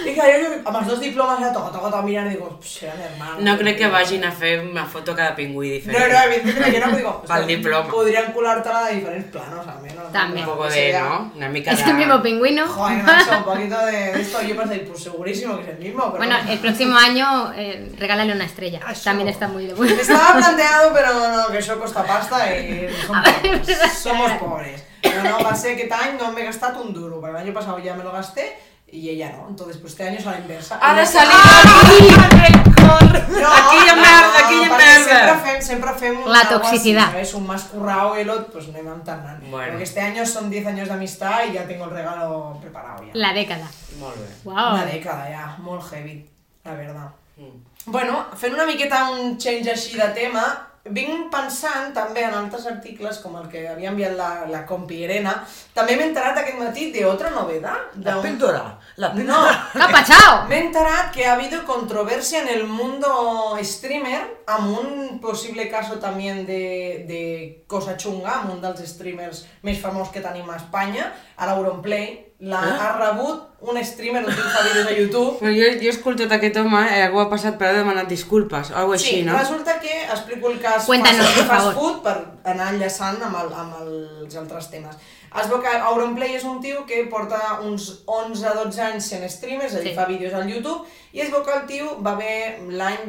I clar, jo amb els dos diplomes era toca, toca, toca, mirant i dic, serà mi pues- hermano. No crec que vagin a fer una foto a cada pingüí No, diferent. no, evidentment, jo no digo, Pel diploma. Podrien colar-te-la de diferents planos, almenys. També. Un poco de, ¿no? Una mica Es el de... mismo pingüino. Joder, macho, un poquito de esto, yo pensé, pues segurísimo que es el mismo, pero... Bueno, el próximo año eh, regálale una estrella. Eso. También está muy de [LAUGHS] Estaba planteado, pero no, que això costa pasta y son [LAUGHS] pobres. somos pobres. Pero no, va ser aquest any no m'he gastat un duro, porque el año pasado ya me lo gasté y ella no. Entonces, pues este año es a la inversa. Ara I- salim aquí! No, Aquí hi ha no, merda, no, aquí hi ha perquè Sempre merda! fem, sempre fem un La algo así, toxicidad. ¿sabes? un más currao y el otro, pues anem alternant. Bueno. Porque este año son 10 años de amistad y ya tengo el regalo preparado ya. La Oh. década. Molt bé. Wow. Una dècada ja, molt heavy, la verdad. Mm. Bueno, fent una miqueta un change així de tema, vinc pensant també en altres articles, com el que havia enviat la, la compi Irene, també m'he enterat aquest matí d'altra novedat. La d'un- pintora, la No, pintora. ¡Capa, chao! m'he enterat que ha habido controversia en el mundo streamer amb un possible caso també de, de cosa xunga amb un dels streamers més famós que tenim a Espanya, a l'Auronplay. La, Ha rebut un streamer, un tio que fa vídeos a YouTube, Però jo, jo he escoltat aquest home, eh, algú ha passat per ha demanat disculpes o alguna Sí, així, no? resulta que explico el cas Cuéntanos, fast, por fast favor. food per anar enllaçant amb, el, amb els altres temes. Es veu que Auronplay és un tio que porta uns 11-12 anys sent streamer, és a dir, Sí. fa vídeos al YouTube, i es veu que el tio va haver l'any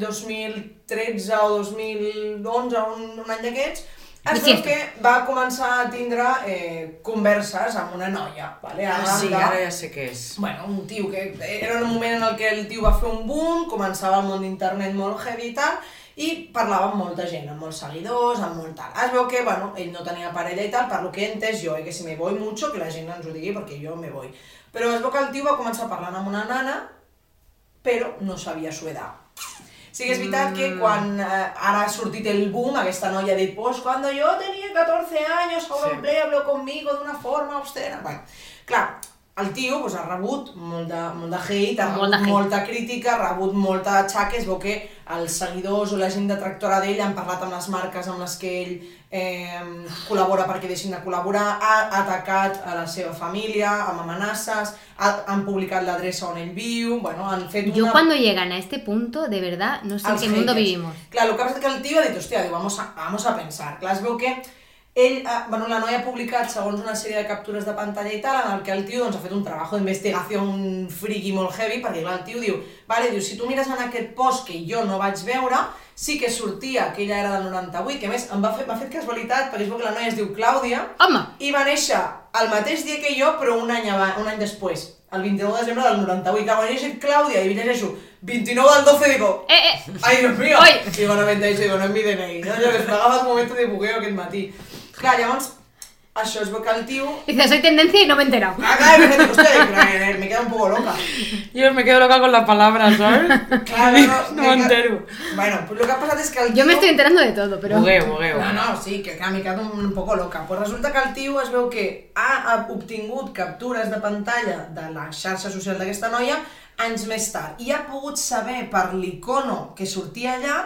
2013 o 2011, un, un any d'aquests, es veu Bisiesto. que va començar a tindre eh, converses amb una noia, vale? Ah, Arran sí, de- ara ja sé què és. bueno, un tio que era un moment en el que el tio va fer un boom, començava el món d'internet molt heavy i tal, i parlava amb molta gent, amb molts seguidors, amb molt tal. Es veu que, bueno, ell no tenia parella i tal, per lo que he entès jo, i que si me voy mucho, que la gent ens ho digui, perquè jo me voy. Però es veu que el tio va començar parlant amb una nana, però no sabia su edat. Sí que és veritat que quan eh, ara ha sortit el boom, aquesta noia ha dit pues cuando yo tenía 14 años, ahora Sí. sí. habló conmigo de una forma obscena. Bueno, clar, el tio pues, ha rebut molt de, molt de hate, ha rebut Molt de molt hate. molta crítica, ha rebut molta xaca, es veu que els seguidors o la gent detractora d'ell han parlat amb les marques amb les que ell eh, col·labora perquè deixin de col·laborar, ha atacat a la seva família amb amenaces, ha, han publicat l'adreça on ell viu, bueno, han fet Yo una... cuando llegan a este punto, de verdad, no sé en Els qué mundo haters. vivimos. Clar, el que passa és que el tio ha dit, hòstia, diu, vamos a, vamos a pensar. Clar, es veu que ell, ha, bueno, la noia ha publicat segons una sèrie de captures de pantalla i tal, en el que el tio doncs, ha fet un treball d'investigació un friki molt heavy, perquè clar, el tio diu, vale, diu, si tu mires en aquest post que jo no vaig veure, sí que sortia que ella era del 98, que a més em va fer, m'ha fet casualitat, perquè es veu que la noia es diu Clàudia, Home, i va néixer el mateix dia que jo, però un any, abans, un any després, el 29 de desembre del 98. Clar, quan he llegit Clàudia i llegeixo 29 del 12, digo, eh, eh, ¡Ay, Dios mío! Ai. I bueno, venta això, digo, no és mi DNI. No, jo desplegava el moment de bugueo aquest matí. Clar, llavors, això es veu que el tio... dice, soy tendencia y no me he enterado. Ah, clar, me dic, hòstia, dic, me queda un poco [LAUGHS] loca. Yo me quedo loca con la palabra, ¿sabes? [LAUGHS] Claro, no, me queda- entero. Bueno, pues lo que ha passat és que el tio... Yo me estoy enterando de todo, pero... Bugueo, bugueo. No, no, sí, que clar, m'he quedat un, un poco loca. Pues resulta que el tio es veu que ha, ha obtingut captures de pantalla de la xarxa social d'aquesta noia anys més tard i ha pogut saber per l'icono que sortia allà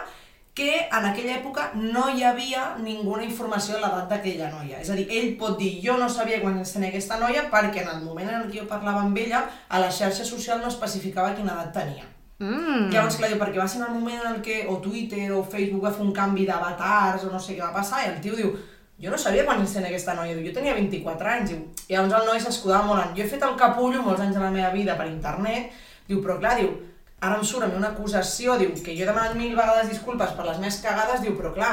que en aquella època no hi havia ninguna informació de l'edat d'aquella noia. És a dir, ell pot dir, jo no sabia quan ens tenia aquesta noia perquè en el moment en què jo parlava amb ella, a la xarxa social no especificava quina edat tenia. Mm. Llavors, clar, diu, perquè va ser en el moment en el que o Twitter o Facebook va fer un canvi d'avatars o no sé què va passar i el tio diu, jo no sabia quan encén aquesta noia, diu, jo tenia 24 anys, diu. I llavors el noi s'escudava molt en, jo he fet el capullo molts anys de la meva vida per internet, diu, però clar, diu, ara em surt a mi una acusació, diu, que jo he demanat mil vegades disculpes per les meves cagades, diu, però clar,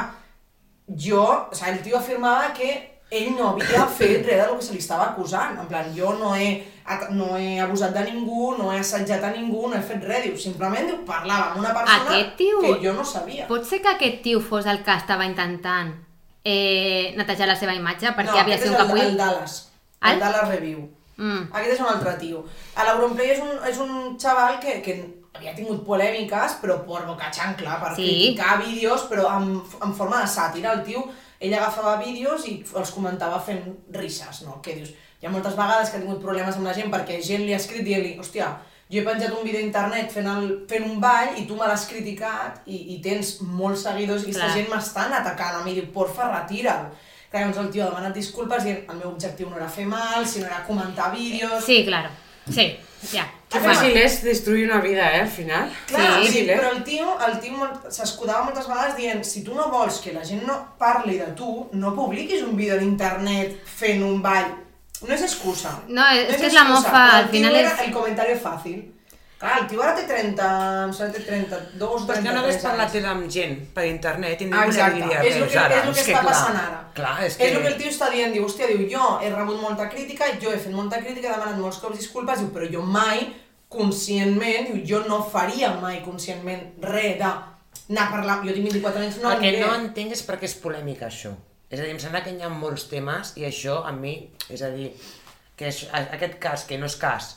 jo, o sigui, el tio afirmava que ell no havia fet res del que se li estava acusant. En plan, jo no he, at- no he abusat de ningú, no he assetjat a ningú, no he fet res. Diu, simplement diu, parlava amb una persona Aquest tio- que jo no sabia. Pot ser que aquest tio fos el que estava intentant eh, netejar la seva imatge perquè no, havia aquest sigut és el, un capull? el Dallas. El? El Dallas Review. Mm. Aquest és un altre tio. A l'Europlay és, un, és un xaval que, que havia tingut polèmiques, però per boca xancla, per Sí. criticar vídeos, però en, en forma de sàtira. El tio, ell agafava vídeos i els comentava fent risses, no? Que dius, hi ha moltes vegades que ha tingut problemes amb la gent perquè gent li ha escrit dient-li, hòstia, jo he penjat un vídeo a internet fent, el, fent un ball i tu me l'has criticat i, i tens molts seguidors i aquesta Clar. gent m'estan atacant a mi, diu, porfa, retira'l. Clar, llavors el tio ha demanat disculpes dient, el meu objectiu no era fer mal, sinó era comentar vídeos, Sí, claro. Sí, ja. Qué Bueno. fácil es destruir una vida, ¿eh? Al final. Clar, Qué sí, fácil, ¿eh? però el tio, el tio molt- s'escudava moltes vegades dient si tu no vols que la gent no parli de tu, no publiquis un vídeo en internet fent un ball. No és excusa. No, és que és la excusa, mofa, però el al tio final era és- El comentari fàcil. Clar, el tio ara té 30, em sembla que té 32, 33 Perquè no hagués parlat anys. Ah, amb gent per internet i ningú li Exacte, diria és el res que, ara. és el que està clar, passant ara. Clar, és és el que el tio està dient, diu, hòstia, diu, jo he rebut molta crítica, jo he fet molta crítica, he demanat molts cops disculpes, diu, però jo mai, conscientment, diu, jo no faria mai conscientment res de anar a parlar, jo tinc 24 anys, no el que aniré. no entenc és per què és polèmica això. És a dir, em sembla que hi ha molts temes i això a mi, és a dir, que és, a- aquest cas que no és cas,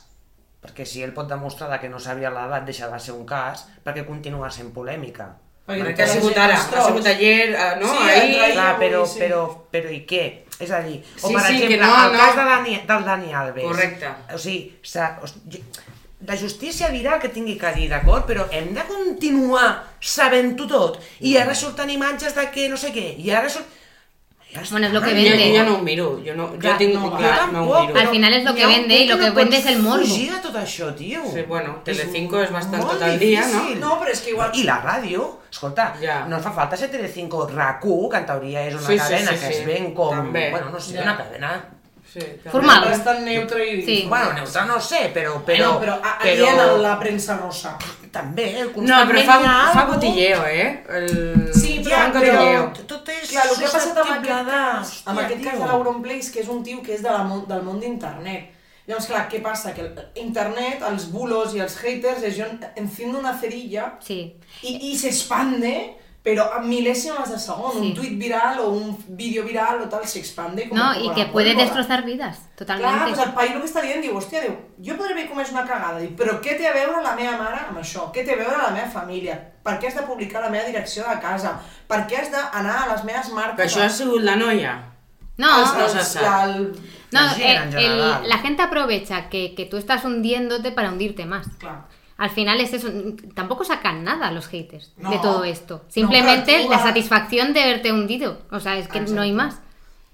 perquè si ell pot demostrar de que no sabia l'edat deixa de ser un cas, perquè continua sent polèmica. Perquè M'entens? Que ha sigut ara, ha sigut ayer, eh, no? Sí, Ahir, entre ahir. Clar, avui, però, sí. però, però i què? És a dir, o Sí, per sí, que exemple, no, el no. cas de Dani, del Dani Alves. Correcte. O sigui, s'ha- o sigui, la justícia dirà el que tingui que dir, d'acord? Però hem de continuar sabent-ho tot. I Mm. ara surten imatges de que no sé què, i ara surt... Ja està. Bueno, és lo que Yo, vende. yo ya no miro, yo no, yo Clar, tengo, no, clar, Jo no tampoc, miro. però Al final és lo hi que ha un vende i punt lo que no pots vende és el morbo. Fugir de tot això, tio. Sí, bueno, És Telecinco és bastant molt tot el dia, no? difícil. No, però és que igual... I la ràdio, escolta, Ja. no fa falta ser Telecinco, RAC1, que en teoria és una Sí, sí, cadena sí, sí. que es ven com... També. Bueno, no sé, Ja. una cadena... Sí, clar. Formal. mal. És tan neutre i... Sí. Bueno, neutra no sé, però... Però, Però, però, a, però- però... la premsa rosa. També, el No, però constantment fa, hi ha fa algo- cotilleo, eh? El... Sí, però- Ja, fa un però cotilleo. tot és Clar, el que ha passat amb susceptible aquest de- cas, amb Hòstia, aquest cas tio. de l'Auronplay és que és un tio que és de la, mon- del món d'internet. Llavors, clar, què passa? Que el- internet, els bulos i els haters, és jo enciendo una cerilla Sí. i, i s'expande, però a milèsimes de segon. Sí. Un tuit viral o un vídeo viral o tal s'expande com No, com y la que puede pólvora. destrozar vidas, Clar, totalmente. doncs el paio el que està dient diu, hòstia, diu, jo podré haver comès una cagada, diu, però què té a veure la meva mare amb això? Què té a veure la meva família? Per què has de publicar la meva direcció de casa? Per què has d'anar a les meves marques? Que això ha sigut la noia. No, Els- no els- se sap. el- no, La gent, eh, en el- general. la gente aprovecha que, que tú estás hundiéndote para hundirte más. Clar. Al final es eso, tampoco sacan nada los haters No. de todo esto. No, Simplemente claro, tú la a- satisfacción de verte hundido. O sea, es que no hay Exacto. más.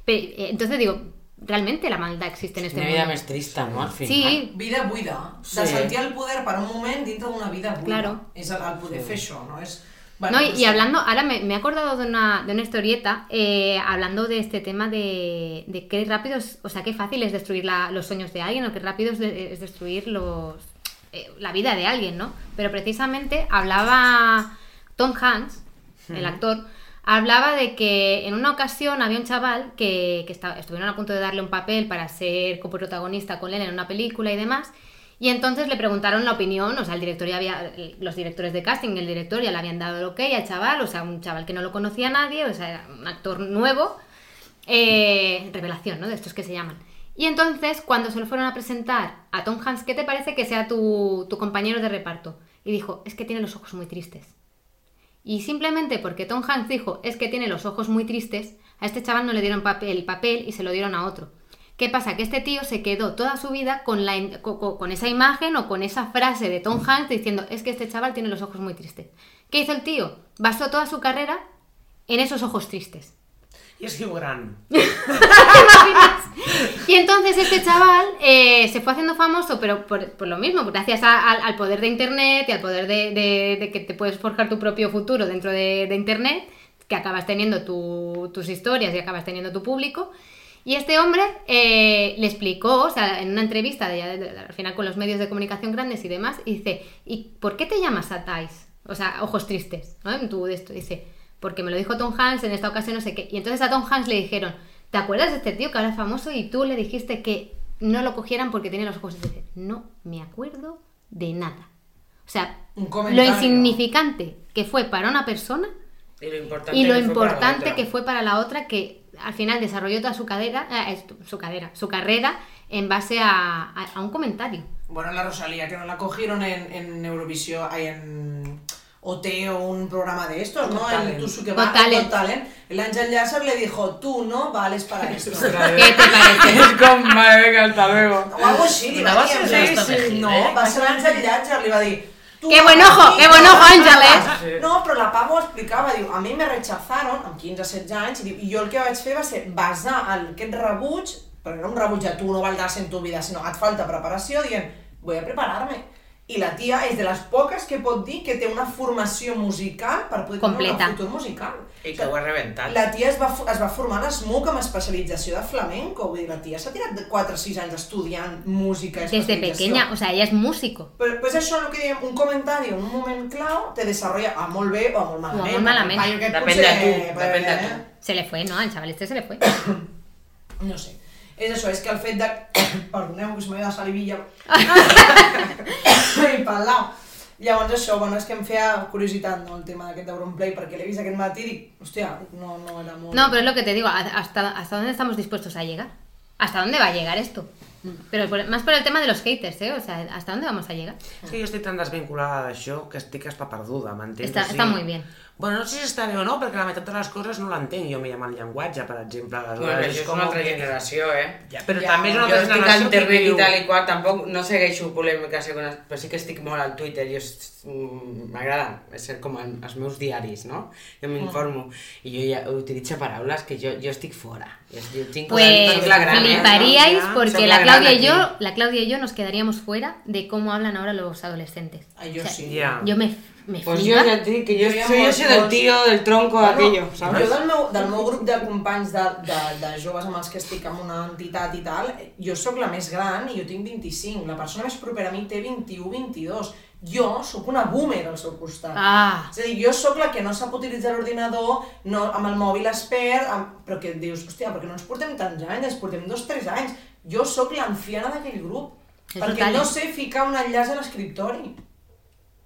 Pe- eh, entonces digo, realmente la maldad existe en este Una vida mundo. més trista, no? Al final. Sí, Vida buida. Sí. De sentir el poder per un moment dintre d'una vida buida. Claro. És el, el poder fer això, no? És Bueno, no, y, pues y sí. hablando, ahora me, me he acordado de una, de una historieta eh, hablando de este tema de, de qué rápido, es- o sea, qué fácil es destruir la- los sueños de alguien o qué rápido es, de- es destruir los, eh, la vida de alguien, ¿no? Pero precisamente hablaba Tom Hanks, el actor, hablaba de que en una ocasión había un chaval que, que estaba- estuvieron a punto de darle un papel para ser coprotagonista con él en una película y demás. Y entonces le preguntaron la opinión, o sea, el director ya había, los directores de casting, el director ya le habían dado el ok al chaval, o sea, un chaval que no lo conocía nadie, o sea, era un actor nuevo, eh, revelación, ¿no? De estos que se llaman. Y entonces, cuando se lo fueron a presentar a Tom Hanks, ¿qué te parece que sea tu, tu compañero de reparto? Y dijo, es que tiene los ojos muy tristes. Y simplemente porque Tom Hanks dijo es que tiene los ojos muy tristes, a este chaval no le dieron papel- el papel y se lo dieron a otro. ¿Qué pasa? Que este tío se quedó toda su vida con, la, im- co- co- con esa imagen o con esa frase de Tom Hanks diciendo es que este chaval tiene los ojos muy tristes. ¿Qué hizo el tío? Basó toda su carrera en esos ojos tristes. Y es Hugh Grant. ¿Te imaginas? Y entonces este chaval eh, se fue haciendo famoso, pero por, por lo mismo, gracias a- al, al poder de Internet y al poder de, de- de que te puedes forjar tu propio futuro dentro de, de Internet, que acabas teniendo tu- tus historias y acabas teniendo tu público. Y este hombre eh, le explicó, o sea, en una entrevista de- de- de- al final con los medios de comunicación grandes y demás, y dice, ¿y por qué te llamas Atais? O sea, ojos tristes, ¿no? En tu de esto, dice, porque me lo dijo Tom Hanks en esta ocasión, no sé qué. Y entonces a Tom Hanks le dijeron, ¿te acuerdas de este tío que ahora es famoso y tú le dijiste que no lo cogieran porque tenía los ojos tristes? Dice, No me acuerdo de nada. O sea, Un lo comentario. insignificante que fue para una persona Y lo importante, y lo que fue para la importante otra. que fue para la otra que al final desarrolló toda su cadera eh, esto, su cadera su carrera en base a, a- a un comentario Bueno, la Rosalía, que no la cogieron en, en Eurovisión, ahí en OT o un programa de estos, ¿no? Got El Talent. Tusu que Got va, Talent. Got Talent. El Ángel Yasser le dijo, tú no vales para esto. qué te parece Es con madre, venga, hasta luego. O algo així, li I va la va dir ser Àngel. honesta, Mejide, No, eh? va ser l'Àngel Llàtzer, li va dir... tu Que no buen ojo, vas que dir, buen no ojo, vas Àngel, eh? parlar. Sí. No, però la Pavo explicava, diu, a mi me rechazaron amb 15-16 anys, i diu, i jo el que vaig fer va ser basar el, aquest rebuig, però no un rebuig a tu no valdràs en tu vida, sinó et falta preparació, dient, voy a preparar-me. I la tia és de les poques que pot dir que té una formació musical per poder Completa. tenir un futur musical. I que ho ha rebentat. La tia es va, fo- es va formar a l'SMUC amb especialització de flamenco, vull dir, la tia s'ha tirat 4 o 6 anys estudiant música i desde especialització. pequeña o sea ella es músico Però pues això, el que diem, un comentari en un moment clau te desarrolla a molt bé o a molt malament. molt malament. Paio aquest Depèn potser- eh, de tu, depèn de tu. se le fue no al chaval este se le fue eh, No sé. És això, és que el fet de... [COUGHS] Perdoneu, que se m'ha de [COUGHS] salivilla. [COUGHS] I palau. Llavors això, bueno, és que em feia curiositat no, el tema d'aquest d'Auronplay, perquè l'he vist aquest matí i dic, hòstia, no, no era molt... no pero es lo que te digo a- hasta hasta dónde estamos dispuestos a llegar hasta dónde va a llegar esto pero por- más por el tema de los haters eh o sea hasta dónde vamos a llegar És que jo estic tan desvinculada d'això que estic espa perduda, m'entens? Està- està molt bé. Bueno, no sé si està bé o no, perquè la meitat de les coses no l'entenc. Jo mirem el llenguatge, per exemple. Bueno, però Aleshores, això és una altra generació, eh? Ja, però Ja, també és una Jo altra estic al generació que internet i diu- tal i qual, tampoc no segueixo polèmiques, algunes, però sí que estic molt al Twitter, jo est- mm, m'agrada, és com el, els meus diaris, no? Jo m'informo i jo ja utilitzo paraules que jo, jo estic fora. Jo, jo tinc Pues soc la gran, eh? fliparíais Ya, porque soy la la Claudia gran y yo, aquí. la Claudia y yo nos quedaríamos fuera de cómo hablan ahora los adolescentes. Ah, jo O sea, sí. Ja. Yo me, me Pues jo flipa. ja et dic que jo, Jo hi ha soy, jo molts, soy del molts. tío, del tronco Bueno, aquello, saps? Jo del meu, del meu grup de companys de, de, de joves amb els que estic en una entitat i tal, jo sóc la més gran i jo tinc 25. La persona més propera a mi té 21-22. Jo sóc una boomer al seu costat. Ah, És a dir, jo sóc la que no sap utilitzar l'ordinador, no, amb el mòbil es perd, amb... però que et dius, hòstia, perquè no ens portem tants anys, ens portem dos, tres anys. Jo sóc l'anciana d'aquell grup, És perquè brutal, eh? no sé ficar un enllaç a l'escriptori.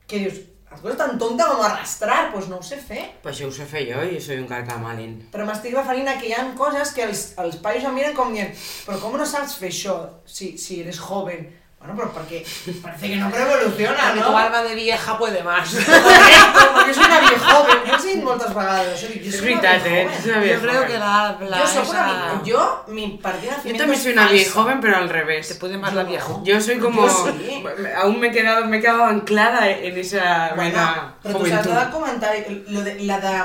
Que dius, les coses tan tonta com arrastrar, doncs no ho sé fer. Pues això ho sé fer jo i soy un carcamalín. Però m'estic referint a que hi ha coses que els, els paios em miren com dient però com no saps fer això si, si eres joven? Bueno, però perquè parece que no revoluciona, Porque no? tu alma de vieja puede [LAUGHS] más. Correcto, perquè és [LAUGHS] una vieja joven. Jo ho he dit moltes vegades. Això, dic, jo És soc una veritat, eh? vieja joven. Ets una Yo vieja. creo que la... la Jo soc una esa- vieja. Jo, mi partida de Yo nacimiento también es soy una vieja falsa. joven, pero al Te revés. puede más la vieja. Yo soy como... Yo sí. Aún me he quedado, me he quedado anclada en esa Bueno, buena però tu saps juventud. la de comentari, lo de, la de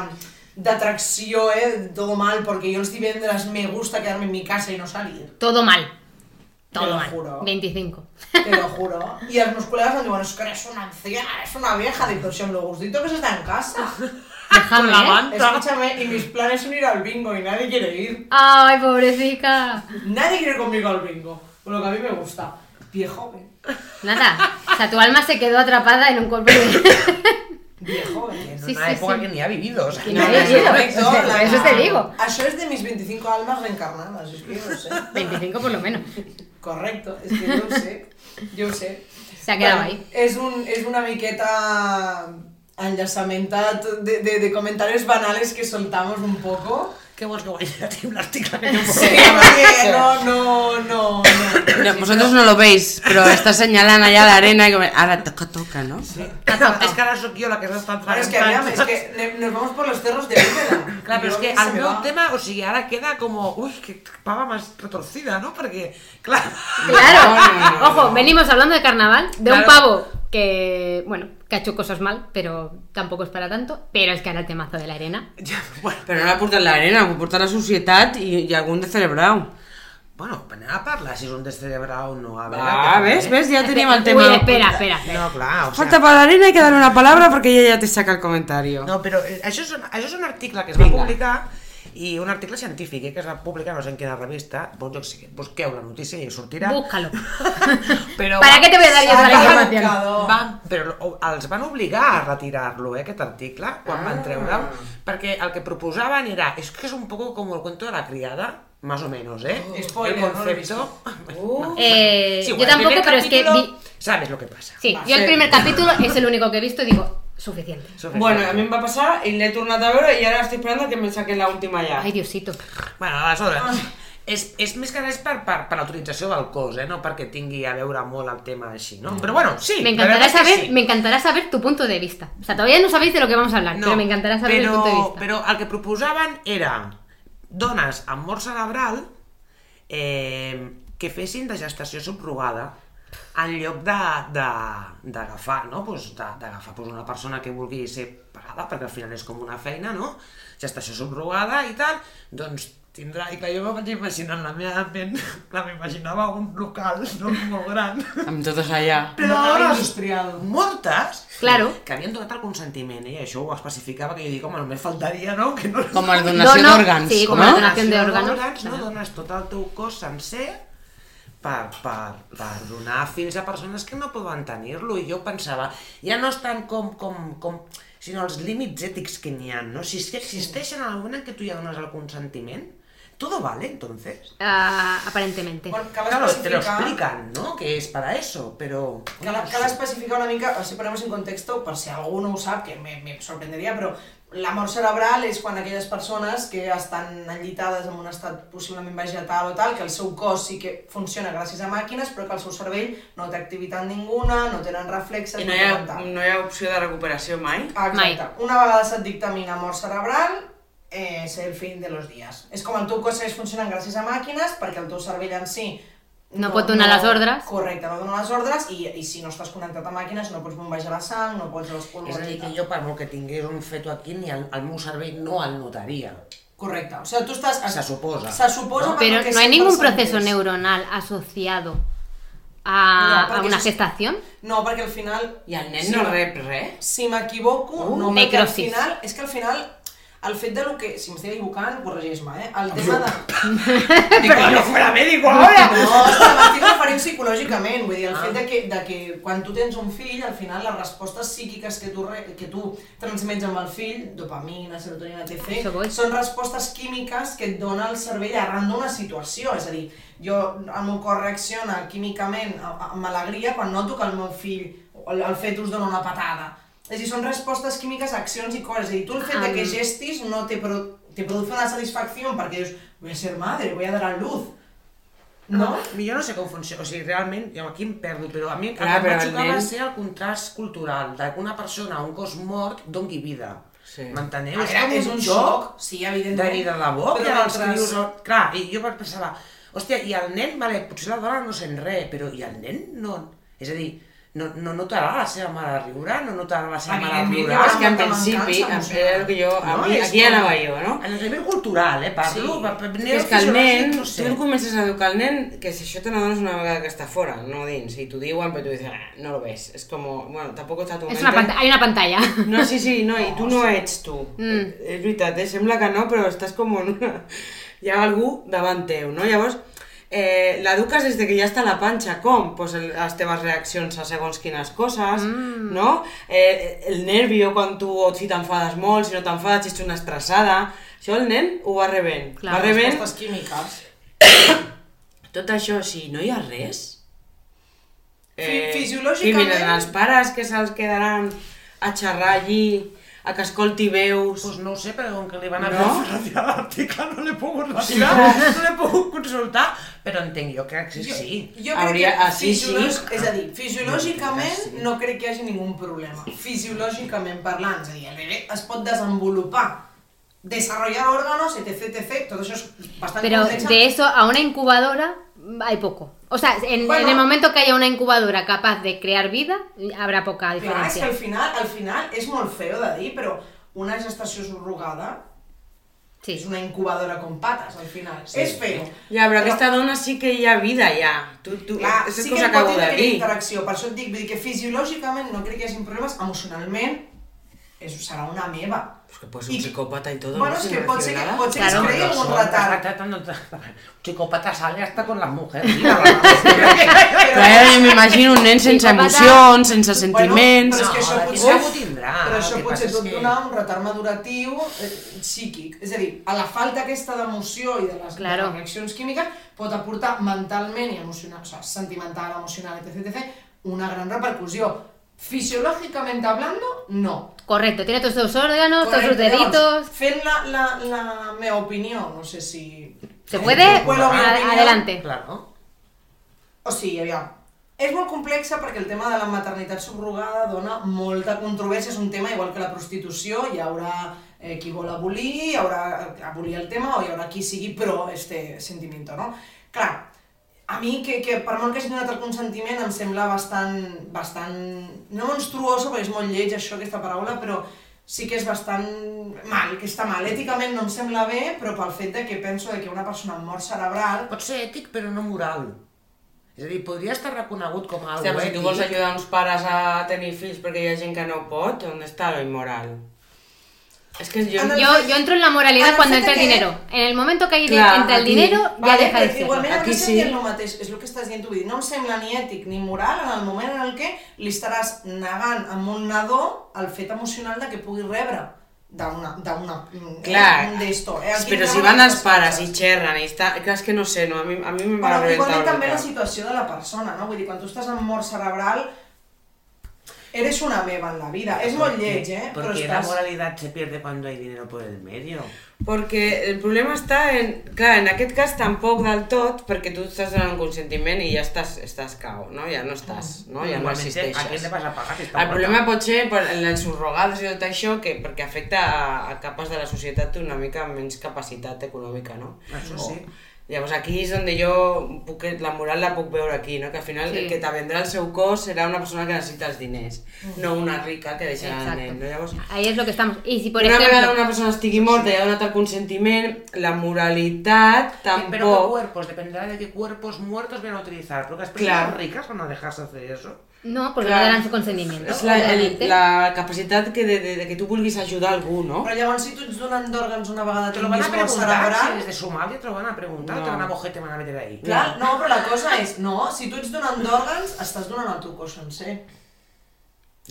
d'atracció, eh? Todo mal, porque yo els divendres me gusta quedarme en mi casa y no salir. todo mal. Te Todo lo mal. juro. 25. Te lo juro. Y las mis colegas me diuen, es que eres una anciana, eres una vieja. Digo, si lo gustito que se está en casa. Déjame, la ¿eh? mano. Escúchame, y mis planes son ir al bingo y nadie quiere ir. Ay, pobrecita. Nadie quiere ir conmigo al bingo. Por lo que a mí me gusta. Viejo, ¿eh? Nada. O sea, tu alma se quedó atrapada en un cuerpo de... Viejo, ¿eh? En [LAUGHS] Sí, una sí, época sí. que ni ha vivido. O sea, No, Nadie no, quiere, no, Víctor, eso- la- eso te digo. Això es de mis 25 almas reencarnadas, es que yo [LAUGHS] lo sé. 25 por lo menos. Correcto, es que yo ho sé, jo ho sé. Se ha quedado Bueno, ahí. És, un, és una miqueta enllaçamentat de, de, de comentarios banales que soltamos un poco. ¿Qué vos que voy a hacer un artículo que no Sí, perquè no, no, no, no. No, vosotros no lo veis, pero está señalando allá la arena y como, ahora toca, toca, ¿no? [LAUGHS] Es que ahora soy yo la que se está Bueno, és que aviam, és que ne- nos vamos por los cerros de Úbeda. Claro, pero es Jo que se al me meu va. tema, o sigui, ara queda como... Uy, que pava más retorcida, ¿no? Porque, claro... [LAUGHS] Claro. Ojo, venimos hablando de carnaval, de un Claro. pavo que, bueno, que ha hecho cosas mal, pero tampoco es para tanto. Pero es que ahora el temazo de la arena. Ya, bueno, Pero no la porta la arena, la porta la societat i, i algun de celebrado. bueno, anem a parlar si és un descerebrado o no. A veure, Ah, què ves, tal, eh? ves, ya teníamos el Uy, tema. espera, espera, espera. No, clar, o Falta sea... para la arena, hay que darle una palabra porque ella ya te saca el Ah. comentario. No, però eh, això és, un, això és un article que es va Vinga. publicar i un article científic eh, que es va publicar no sé en quina revista, vos, jo, sé, busqueu la notícia i us sortirà. [LAUGHS] Búscalo. [LAUGHS] Però ¿Para va- qué te voy a dar yo toda la Saca el información? buscador. Van, però o- els van obligar a retirar-lo, eh, aquest article, quan Ah. van treure'l, perquè el que proposaven era, és que és un poco com el cuento de la criada, más o menos, eh? Oh, Spoiler, el no lo he concepto... Uh, Eh, [LAUGHS] Sí, yo bueno, el tampoco, primer pero es que vi... capítulo, Sabes lo que pasa. Sí, Va, yo el sí. [LAUGHS] primer capítulo es el único que he visto y digo, suficiente. Sobre Bueno, todo. a mí me va a pasar y le he turnado a ver y ahora estoy esperando que me saquen la última ya. Ay, Diosito. Bueno, aleshores, és, és més que res per, per, per l'autorització del cos, eh? no perquè tingui a veure molt el tema així, no? Però bueno, sí, Me la encantará veritat és que saber, me encantará saber tu punto de vista. O sea, todavía no sabéis de lo que vamos a hablar, pero me encantará saber però, el punto de vista. Però el que proposaven era dones amb mort cerebral eh, que fessin de gestació subrogada en lloc de- de- d'agafar, no? Pues de- d'agafar pues una persona que vulgui ser pagada, perquè al final és com una feina, no? Gestació subrogada i tal, doncs tindrà... I clar, jo m'ho vaig imaginar en la meva ment, [LAUGHS] clar, m'imaginava un local no, molt gran, Amb totes allà. però Local dones industrial. mortes Claro. que havien donat el consentiment, eh? i això ho especificava, que jo dic, home, només faltaria, no? Que no... Com a donació Dono- d'òrgans. sí, com com a a donació. donación de Donació órganos. d'òrgans, no? Clar. Dones tot el teu cos sencer per, per, per donar fins a persones que no poden tenir-lo. I jo pensava, ja no és tant com, com, com sinó els límits ètics que n'hi ha, no? Si és que existeixen en el moment en què tu ja dones el consentiment, todo vale, entonces. Ah, aparentemente. Bueno, cal Claro, te lo especificar- explican, ¿no? Que es para eso, pero... Cal, cal especificar una mica, si ponemos en contexto, per si algú no ho sap, que me, me sorprenderia, però la mort cerebral és quan aquelles persones que estan enllitades en un estat possiblement vegetal o tal, que el seu cos sí que funciona gràcies a màquines, però que el seu cervell no té activitat ninguna, no tenen reflexes... I no hi, ha, no hi ha opció de recuperació mai. Exacte. Mai. Una vegada se't dictamina mort cerebral, eh, és el fin de los días. És com el teu cos segueix funcionant gràcies a màquines, perquè el teu cervell en si No pot donar les ordres. Correcte, no dona les ordres i, i si no estàs connectat a màquines no pots bombejar la sang, no pots els És pulmons a dir, i que tal. jo per molt que tingués un feto aquí, ni el, el meu cervell no el notaria. Correcte, o sigui, tu estàs... Se suposa. Se suposa No? per Pero lo que no hay sempre ningún s'ha entès. proceso neuronal asociado a, No, a porque una eso es- gestación. No, perquè al final... I el nen si no rep [LAUGHS] res. Si m'equivoco, Oh. Uh, no, perquè al necrosis. final... És que al final, el fet de lo que... Si m'estic equivocant, corregeix-me, eh? El tema de... Digo, no fuera médico ahora. No, és que m'estic referint psicològicament, vull dir, el fet de que, de que quan tu tens un fill, al final les respostes psíquiques que tu, re- que tu transmets amb el fill, dopamina, serotonina, Això etc., vull. són respostes químiques que et dona el cervell arran d'una situació, és a dir, jo, el meu cor reacciona químicament a- a- amb alegria quan noto que el meu fill, o el, el fetus dona una patada. És a dir, són respostes químiques a accions i coses, és a dir, tu el fet de que Am- gestis no te, pro, te produce una satisfacción perquè dius, voy a ser madre, voy a dar a luz, no? Jo no sé com funciona, o sigui, realment, jo aquí em perdo, però a mi el que Clar, em va però el xocar va nen- ser el contrast cultural, de que una persona, un cos mort, dongui vida. Sí. M'enteneu? A Eh, És veure, com és Ah, un joc xoc, sí, evidentment. de dir de la boca, Però però els d'altres- crios... el- Clar, i jo pensava, hòstia, i el nen, vale, potser la dona no sent res, però i el nen no... És a dir, no, no notarà la seva mare riure, no notarà la seva mare Evidentment, riure. no. és que en molta principi, mancança em- emocional. era el que jo, a No, mi, és aquí com- anava jo, no? A nivell cultural, eh, parlo. Sí. Sí. Per, per, Que és que el nen, no tu sé. el comences a educar al nen, que si això te n'adones una vegada que està fora, no dins, i t'ho diuen, però tu dices, ah, no lo ves, és com, bueno, tampoc està tu Es una panta- hay [LAUGHS] una pantalla. No, sí, sí, no, i tu no ets tu. Mm. És veritat, eh? sembla que no, però estàs com en una... Hi ha algú davant teu, no? Llavors, eh, l'eduques des de que ja està a la panxa, com? Pues el, les teves reaccions a segons quines coses, mm. no? Eh, el nervio quan tu, o si t'enfades molt, si no t'enfades, si ets una estressada... Això el nen ho va rebent. Clar, va rebent Respostes químiques. tot això, si no hi ha res... eh, Fi- fisiològicament- I miren els pares que se'ls quedaran a xerrar allí, a que escolti veus... Pues no ho sé, perquè com que li van haver No? no? retirar l'article no l'he pogut retirar, no l'he pogut consultar, però entenc jo que sí, sí. Jo Pues Hauria- crec que ah, sí, sí. fisiològic- És a dir, fisiològicament no crec que hi hagi ningun problema. Fisiològicament parlant, és a dir, el bebè es pot desenvolupar, desarrollar òrganos, etc, etc, tot això és bastant Pero complex. de eso a una incubadora hay poco. O sea, en, Bueno. en el momento que haya una incubadora capaz de crear vida, habrá poca Clar, és que diferencia. al final, al final és molt feo de dir, però una gestació subrogada és Sí. una incubadora con patas, al final. és feo. Ja, però Però- aquesta dona sí que hi ha vida, ja. Tu, tu, eh, Clar, és sí que que us hem pot acabo tenir de aquella dir. interacció, per això et dic, vull dir que fisiològicament no crec que hi hagi problemes, emocionalment és, serà una meva. Pues que pues I- un psicòpata i Doncs tot, bueno, no? es Si que no pot ser recibe que, nada. pot ser que Claro. es creí Los algún hombres retard. están tratando de- Psicópata sale hasta con las [LAUGHS] mujeres. mira, la verdad. Clar, jo eh, m'imagino un nen sense Psicòpata. emocions, sense Bueno, sentiments... però és que això No, potser, ho tindrà, però això el que potser passa tot és que- donar un retard maduratiu eh, psíquic. És a dir, a la falta aquesta d'emoció i de les, Claro. de les reaccions químiques pot aportar mentalment i emocional, o sigui, sentimental, emocional, etc, etc, una gran repercussió. Fisiològicament hablando, no. Correcto, tiene todos sus órganos, todos sus Correcte, llavors, deditos. Fent la, la, la meva opinió, no sé si... ¿Se puede? Bueno, mi Ad- opinión- Adelante. Claro. O sigui, aviam, és molt complexa perquè el tema de la maternitat subrogada dona molta controvèrsia, és un tema igual que la prostitució, hi haurà eh, qui vol abolir, hi haurà eh, abolir el tema o hi haurà qui sigui pro este sentimiento, no? Clar, a mi, que, que per molt que hagi donat el consentiment, em sembla bastant, bastant, no monstruoso, perquè és molt lleig això, aquesta paraula, però sí que és bastant mal, que està mal. Èticament no em sembla bé, però pel fet de que penso de que una persona amb mort cerebral Pot ser ètic, però no moral. És a dir, podria estar reconegut com a Hòstia, algo però si tu vols ètic. ajudar uns pares a tenir fills perquè hi ha gent que no pot, on està lo immoral? És que jo... Entonces, Yo, yo entro en la moralidad Ahora, cuando entra el fíjate que- dinero. En el momento que hay di- Claro, entra el aquí. dinero, ya deja de però ser. Igualment Aquí aquí sí. sí. el mateix, és el que estàs dient tu, vull dir, no em sembla ni ètic ni moral en el moment en el que li estaràs negant a un nadó el fet emocional de que pugui rebre d'una... d'una... mm, Clar. eh, d'esto. Eh, aquí Però si entraven van els altres pares i coses. xerren i està... Clar, és que no sé, no, a mi, a mi em va Però rebentar igualment una també mica. la situació de la persona, no? Vull dir, quan tu estàs amb mort cerebral, eres una meva en la vida. És molt lleig, eh? Però Porque la estàs... moralidad se pierde cuando hay dinero por el medio. Perquè el problema està en... Clar, en aquest cas tampoc del tot, perquè tu estàs donant un consentiment i ja estàs, estàs cau, no? Ja no Ah. estàs, no? Ja no Igualmente, ¿A quién existeixes. le vas a pagar? Si está El muerta? problema pot ser per en les surrogades i tot això, que, perquè afecta a, a capes de la societat una mica amb menys capacitat econòmica, no? Això O- sí. Llavors aquí és on jo puc, la moral la puc veure aquí, no? que al final Sí. el que te vendrà el seu cos serà una persona que necessita els diners, Mm. no una rica que deixarà el nen. No? Llavors, Ahí es lo que estamos. Y si, por una vegada ejemplo, una persona estigui morta i ha donat el consentiment, la moralitat Pero qué tampoc... cuerpos, dependerá de qué cuerpos muertos van a utilizar. Porque las Claro. personas ricas van a dejarse hacer eso. no, porque Claro. no darán su consentimiento. És la, el, obviamente. la capacitat que de, de, de que tu vulguis ajudar algú, no? Però llavors, si tu ets donant d'òrgans una vegada Te lo van tinguis a mort preguntar, si cerebral... eres de Somalia te lo van a preguntar, No. te van a coger, te van a meter ahí. Clar, no, però la cosa és, no, si tu ets donant d'òrgans, estàs donant el teu cos sencer.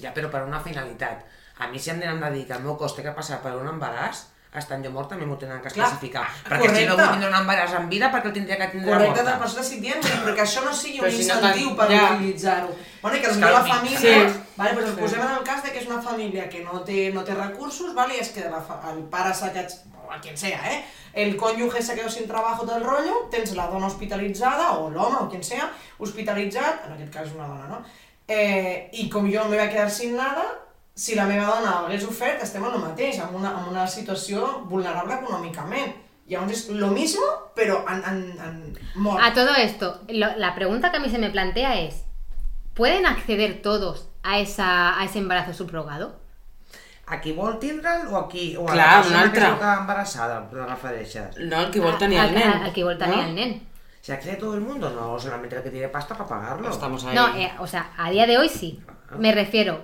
Ja, però per una finalitat. A mi si em tenen de dir que el meu cos té que passar per un embaràs, estant jo mort també m'ho tenen que Clar, especificar. perquè si correcte. no vull tindre un embaràs en vida, perquè el tindria que tindre Correcte, de morta. passar si diem, però que això no sigui Però un si no incentiu tan- per ja. utilitzar-ho. Bueno, i que És potser que la el família... mitjà. Vale, doncs però ens Sí. posem en el cas de que és una família que no té, no té recursos, vale, i es queda la fa- el pare s'ha quedat, o a quien sea, eh? El cònyuge s'ha quedat sin trabajo del rotllo, tens la dona hospitalitzada, o l'home, o quien sea, hospitalitzat, en aquest cas és una dona, no? Eh, I com jo em vaig quedar sin nada, si la meva dona hagués ofert, estem en el mateix, en una, en una situació vulnerable econòmicament. Llavors és lo mismo, però en, en, en mort. Ah, A todo esto, lo- la pregunta que a mí se me plantea es, ¿pueden acceder todos a, esa, a ese embarazo subrogado? A qui vol tindre'l o a qui... O a Clar, la persona una altra. que es toca embarassada, te refereixes? No, el que vol tenir Al- el al- nen. Al Ah, que vol tenir el nen. ¿Se accede todo el mundo? No, solamente el que tiene pasta para pagarlo. Estamos ahí. No, eh, o sea, a día de hoy sí. Me refiero,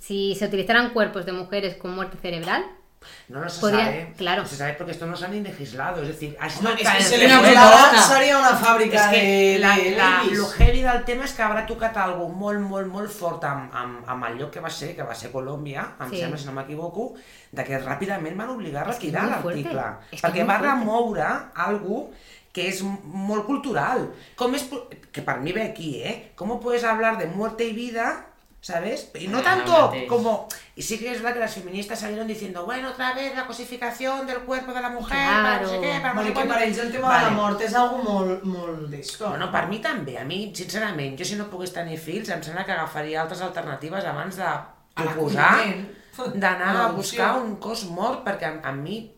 si se utilizaran cuerpos de mujeres con muerte cerebral, No, no se Podría- sabe. claro. No se sabe porque esto no se han legislado. Es decir, ha sido Home, és tan- que se no, li no, la no. seria una És fàbrica que de, la, de la, ladies. lo heavy del tema és que haurà tocat algo molt, molt, molt fort amb, amb, amb el lloc que va ser, que va ser Colòmbia, em Sí. sí. sembla, si no m'equivoco, de que ràpidament van obligar a És que retirar és molt fuerte. l'article. És que Perquè és molt va fuerte. remoure algú que és molt cultural. Com és, po- que per mi ve aquí, eh? ¿Cómo puedes hablar de muerte y vida ¿Sabes? Y no Ah, tanto mates. como... Y sí que es verdad que las feministas salieron diciendo, bueno, otra vez la cosificación del cuerpo de la mujer, para no sé Claro. qué, para no Bueno, sé i que cuánto". per ells el tema de Vale. la mort és algo molt, molt d'això. Bueno, per mi també. A mi, sincerament, jo si no pogués tenir fills, em sembla que agafaria altres alternatives abans de proposar l'acolliment. d'anar a L'adopció. buscar un cos mort, perquè a, a mi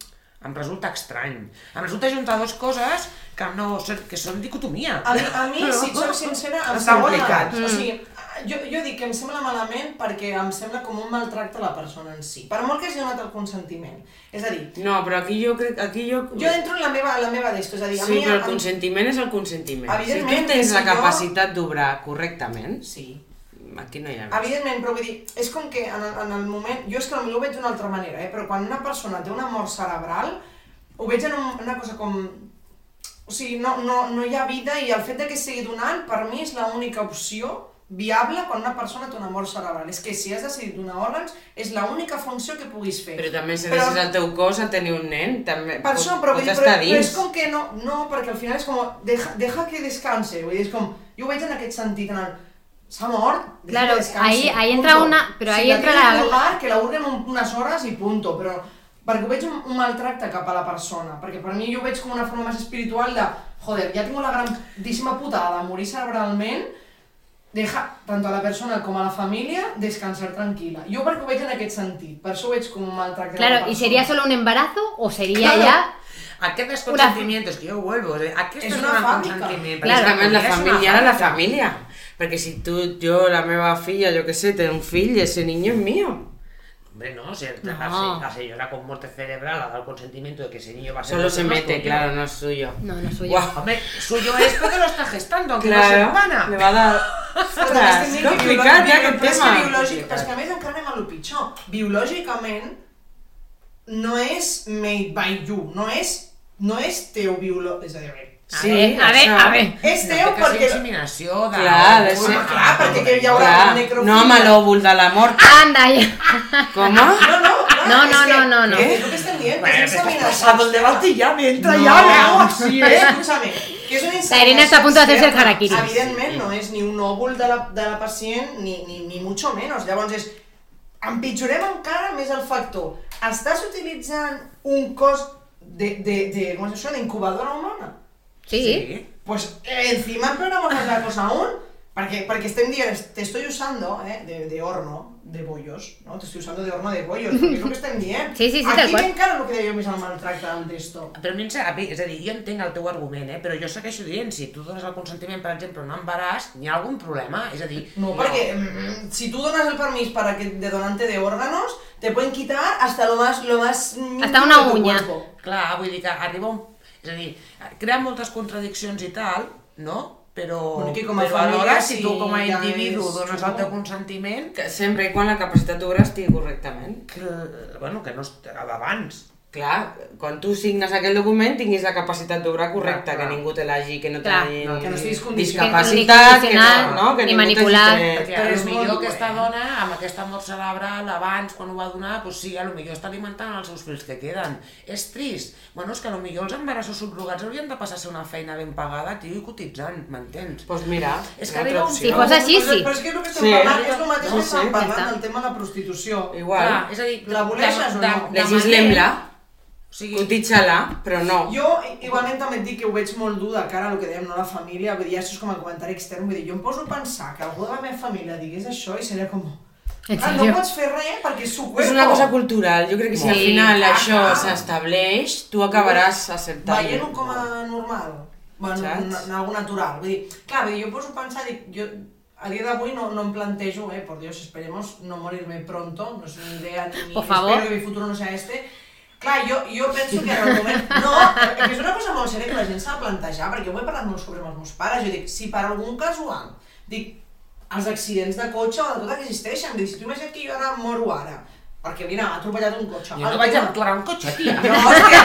em resulta estrany. Em resulta juntar dues coses que no són, que són dicotomia. A mi, a mi si [LAUGHS] et soc sincera, em Està sembla... complicat. Mm. O sigui, jo, jo dic que em sembla malament perquè em sembla com un maltracte a la persona en si. Per molt que hagi donat el consentiment. És a dir, No, però aquí jo crec... Aquí jo... jo entro en la meva, en la meva d'esto, és a dir, a Sí, mi... però el em- consentiment és el consentiment. Si tu Evidentment, tens que si la jo- capacitat d'obrar correctament, Sí, aquí no hi ha res. Evidentment, però vull dir, és com que en, el- en el moment... Jo és que potser ho veig d'una altra manera, eh? però quan una persona té una mort cerebral, ho veig en un, una cosa com... O sigui, no, no, no hi ha vida i el fet de que sigui donant, per mi, és l'única opció viable quan una persona té una mort cerebral. És que si has decidit donar òrgans, és l'única funció que puguis fer. Però també si Però- deixes el teu cos a tenir un nen, també per pot, això, però, pot vull dir, estar però, però dins. és com que no, no, perquè al final és com, deja, deja que descanse, vull dir, és com, jo ho veig en aquest sentit, en el, s'ha mort, deja Claro, que descanse, ahí- ahí entra punto. una- però si ahí entra la... la- tens vulgar, que la hurguen un, unes hores i punto, però perquè ho veig un, un maltracte cap a la persona, perquè per mi jo ho veig com una forma més espiritual de, joder, ja tinc la grandíssima putada de morir cerebralment, deja tanto a la persona com a la família descansar tranquil·la. Jo perquè ho veig en aquest sentit, per això ho veig com un maltracte. a la claro, ¿y persona. sería solo un embarazo o sería Claro. ya Aquests consentimientos, que jo vuelvo, eh, aquest És és, una un fàbrica. consentiment. Clar, perquè també la és una família era la fàbrica. família. Perquè si tu, jo, la meva filla, jo què sé, té un fill, ese niño es mío. Hombre, no, se, No. La, se- la señora con muerte cerebral ha dado el consentimiento de que ese niño va a ser... Solo se nuestro, mete, suyo. claro, no es suyo. No, no es suyo. Guau, Hombre, suyo es porque lo está gestando, aunque no claro, sea humana. le va a dar... Ostres, Ostres, és complicat, ja, aquest però és que tema. biològic, però és que a més encara anem a lo pitjor. Biològicament no és made by you, no és, no és teu biològic, és a dir, a veure, A ver, a ver, a ver. és teu que perquè... inseminació de... Clar, de Home, ser- clar, perquè que hi haurà Clar, necrofilia. no amb l'òvul de la mort. Anda ya. Com? No, no, clar, No, no, és que, no, no, no. que És el que estem dient, que és inseminació. el debate ya me entra Ja veu, així, eh? Escúchame, que és una inseminació Irene està a punt de hacerse el externa. harakiri. Evidentment, no és ni un òvul de la, de la pacient, ni, ni, ni mucho menos. Llavors és, empitjorem encara més el factor. Estàs utilitzant un cos de, de, de com es diu això, d'incubadora humana? Sí. Pues eh, encima empeoramos más la cosa aún, perquè, perquè estem dient, te estoy usando eh, de, de horno, de bollos, no? Te estoy usando de horno de bollos, perquè és el que estem dient. Sí, sí, sí, tal Aquí qual. ve encara el que deia jo més al maltractant d'esto. Però a mi em sembla, a mi- és a dir, jo entenc el teu argument, eh? però jo segueixo dient, si tu dones el consentiment, per exemple, a un embaràs, n'hi ha algun problema? És a dir, No, porque mm, si tú donas el permiso para que de donante de órganos, te pueden quitar hasta lo más lo más mínimo Hasta una de tu uña. cuerpo. Clar, vull dir que arriba un... És a dir, crea moltes contradiccions i tal, no? Però, Bueno, que com a però família, alhora, si sí, tu com a ja individu és dones xulo. el teu consentiment, Que sempre i quan la capacitat d'obra estigui correctament. que, bueno, que no és d'abans. Clar, quan tu signes aquell document tinguis la capacitat d'obrar correcta, Clar, clar. que ningú te l'hagi, que no Clar. tenen No, que no estiguis condicionat. discapacitat, Ni que no, condicionat, no, que ni ningú t'hagi manipulat. tret. Perquè Però a és lo millor molt aquesta dolent. dona, amb aquesta mort cerebral, abans, quan ho va donar, doncs sí, a lo millor està alimentant els seus fills que queden. És trist. Bueno, és que a lo millor els embarassos subrogats haurien de passar a ser una feina ben pagada, tio, i cotitzant, m'entens? Pues Doncs mira, És que una arriba altra un opció. tipus- Pues així, Però és- sí. Però és que és el que estem Sí. parlant, és el mateix que No ho sé, estem ja parlant està. del tema de la prostitució. Igual. Clar, és a dir, La voleixes o no? dema- dema- Legislem-la, O sigui, cotitxa-la, però no. Jo i- igualment també et dic que ho veig molt dur de cara a el que dèiem, no la família, vull dir, això és com el comentari extern, vull dir, jo em poso a pensar que algú de la meva família digués això i seria com... En Ah, no serio. pots fer res perquè és su És cuerpo. una cosa cultural, jo crec que si al Sí. final això Ah, clar. s'estableix, tu acabaràs acceptant. Veient-ho com a normal, bueno, Saps? en, en algo natural. Vull dir, clar, vull dir, jo poso a pensar, dic, jo, A día de hoy no, no em plantejo, eh, por Dios, esperemos no morirme pronto, no es mi idea, ni Por favor. espero que mi futuro no sea este. Clar, jo, jo penso que en el moment... [LAUGHS] No, que és una cosa molt sèria que la gent s'ha de plantejar, perquè jo ho he parlat molt sobre amb els meus pares, jo dic, si per algun casual, dic, els accidents de cotxe o de tot que existeixen, dic, si tu imagina't que jo ara moro ara, perquè mira, ha atropellat un cotxe. Jo El no vaig tema- entrar a un cotxe, tia. No, és que,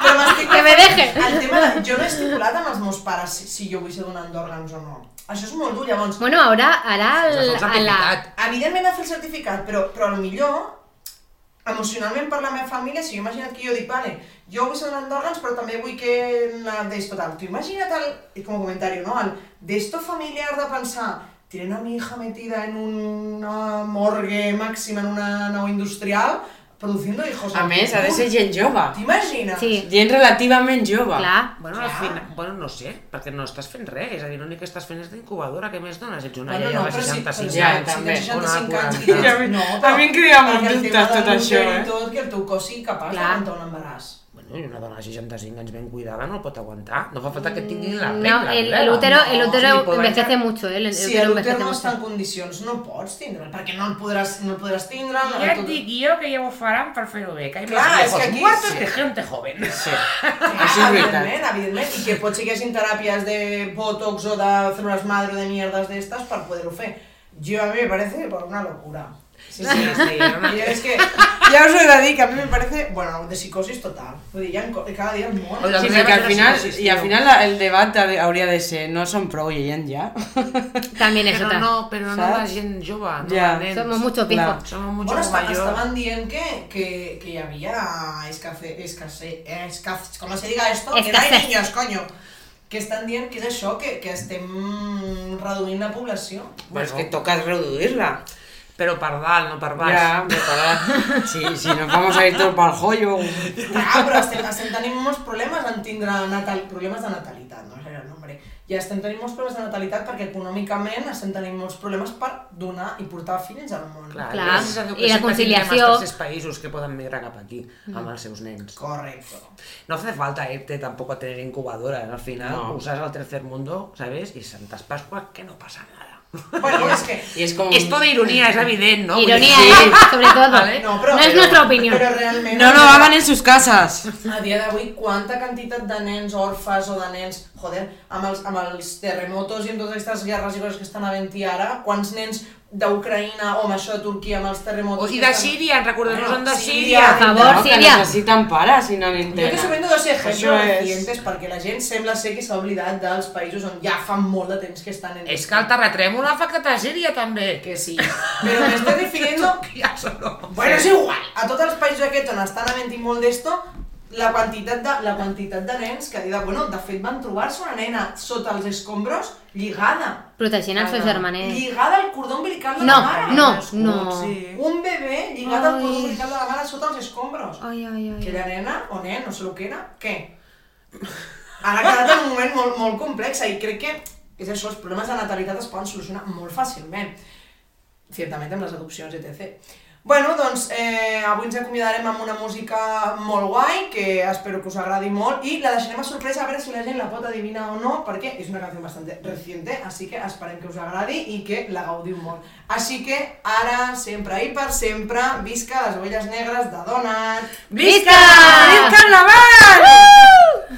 però m'estic... Que me deje. El tema de, jo no he estipulat amb els meus pares si, si jo vull ser donant d'òrgans o no. Això és molt dur, llavors. Bueno, ara, ara Has de fer el, a el la... certificat. Evidentment a fer el certificat, però, però a lo millor emocionalment per la meva família, si jo imagina't que jo dic, vale, jo vull ser donant d'òrgans, però també vull que la d'esto tal. Tu imagina't el, i com a comentari, no? El d'esto familiar de pensar, tienen a mi hija metida en una morgue màxima, en una nau industrial, produciendo hijos. A més, ha de ser gent jove. T'imagines? Sí, Gent relativament jove. clar. Bueno, al final, bueno, no sé, perquè no estàs fent res, és a dir, l'únic que estàs fent és d'incubadora, què més dones? Ets una Bueno, iaia Ah, no, de però si, 65 però anys, si ja, tens també. 65 Una anys i quaranta. tens- A mi- no, a però- mi em crida molt perquè el dubtes tema del tot això, úter i eh? Tot, que el teu cos sigui capaç Clar. d'aguantar un embaràs. Bueno, i una dona de 65 anys ben cuidada no el pot aguantar. No fa falta que tinguin la regla. Mm, No, el, el claro. útero, el No, sí, útero puedo envejece entrar. mucho, eh? El, el Si útero l'úter envejece no està en mucho. condicions, no pots tindre'l, perquè no el podràs, no el podràs tindre. Y no- ya tot- te guío que llevo farán para hacerlo de que hay Claro, más es que viejos aquí- muertos sí. que gente joven. Clar, Això és veritat. evidentment, evidentment. I que potser hi hagi teràpies de botox o de cèl·lules madre o de mierdes d'estes per poder-ho fer. Jo a mi me parece por una locura. Sí, sí, sí. [LAUGHS] Jo és que, ja us ho he de dir, que a mi me parece, bueno, de psicosis total. Vull dir, hi ha, co- cada dia molt... Oye, Sí, a mi perquè m'agrada al la final, psicosis, i al tio. final la- el debat ha de- hauria de ser no són prou gent ja. También es Però otra. no, però no Saps? la gent jove, no Ja. la nens. Somos mucho Clar. pijos. Somos mucho Bueno, esta- mayor. estaban diciendo que, que, que había escasez, escasez, escasez, como se diga esto, que no Escasez. hay niños, coño. Que estan dient que és això, que, que estem reduint la població. Però és que toca reduir-la. Però per dalt, no per baix. Ja, de parar. Sí, sí, nos vamos a ir todos para el joyo. Clar, Ah, però estem, estem tenint molts problemes en tindre natal, problemes de natalitat, no sé el nombre. I estem tenint molts problemes de natalitat perquè econòmicament estem tenint molts problemes per donar i portar fills al món. Clar, Clar. gràcies a Déu I que la sempre tindrem conciliació. Mm. els tercers països que poden migrar cap aquí amb els seus nens. Correcte. No hace falta irte tampoco a tener incubadoras. Al final No. usas al tercer mundo, ¿sabes? Y Santas Pascuas que no pasa nada. Bueno, és que... Y es como... Esto de ironía es evidente, ¿no? Ironía, Vull dir, ¿eh? [LAUGHS] sobre todo. No, es nuestra opinión. Però realment... No, no, hagan en sus casas. A dia d'avui, quanta quantitat de nens orfes o de nens, joder, amb els, amb els terremotos i amb totes aquestes guerres i coses que estan a venti ara, quants nens d'Ucraïna o amb això de Turquia amb els terremotos... O- I que de estan- Síria, recordem-nos Bueno, de Síria, Síria. Por favor, no, que Silvia. necesitan para si no Jo que Nintendo. sovint dos Això ejemples és- recientes perquè la gent sembla ser que s'ha oblidat dels països on ja fa molt de temps que estan en... És que el terratrèmol ha afectat a Síria també. Que sí. Però m'estàs [LAUGHS] refiriendo Ja solo. Bueno, és igual. A tots els països aquests on estan havent molt d'esto, la quantitat de, la quantitat de nens que diuen, bueno, de fet van trobar-se una nena sota els escombros lligada. Protegint els seus germanets. Lligada al cordó umbilical de No, la mare. no, no. Un bebè lligat al cordó Ai. umbilical de la mare sota els escombros. Ai, ai, ai. Aquella nena, o nen, no sé el que era, què? Ara ha quedat en un moment molt, molt complex i crec que és això, els problemes de natalitat es poden solucionar molt fàcilment. Ciertament amb les adopcions, etc. Bueno, doncs eh, avui ens acomiadarem amb una música molt guai, que espero que us agradi molt, i la deixarem a sorpresa a veure si la gent la pot adivinar o no, perquè és una canció bastant reciente, així que esperem que us agradi i que la gaudiu molt. Així que ara, sempre i per sempre, visca les ovelles negres de Donat! ¡Visca! ¡Feliz carnaval!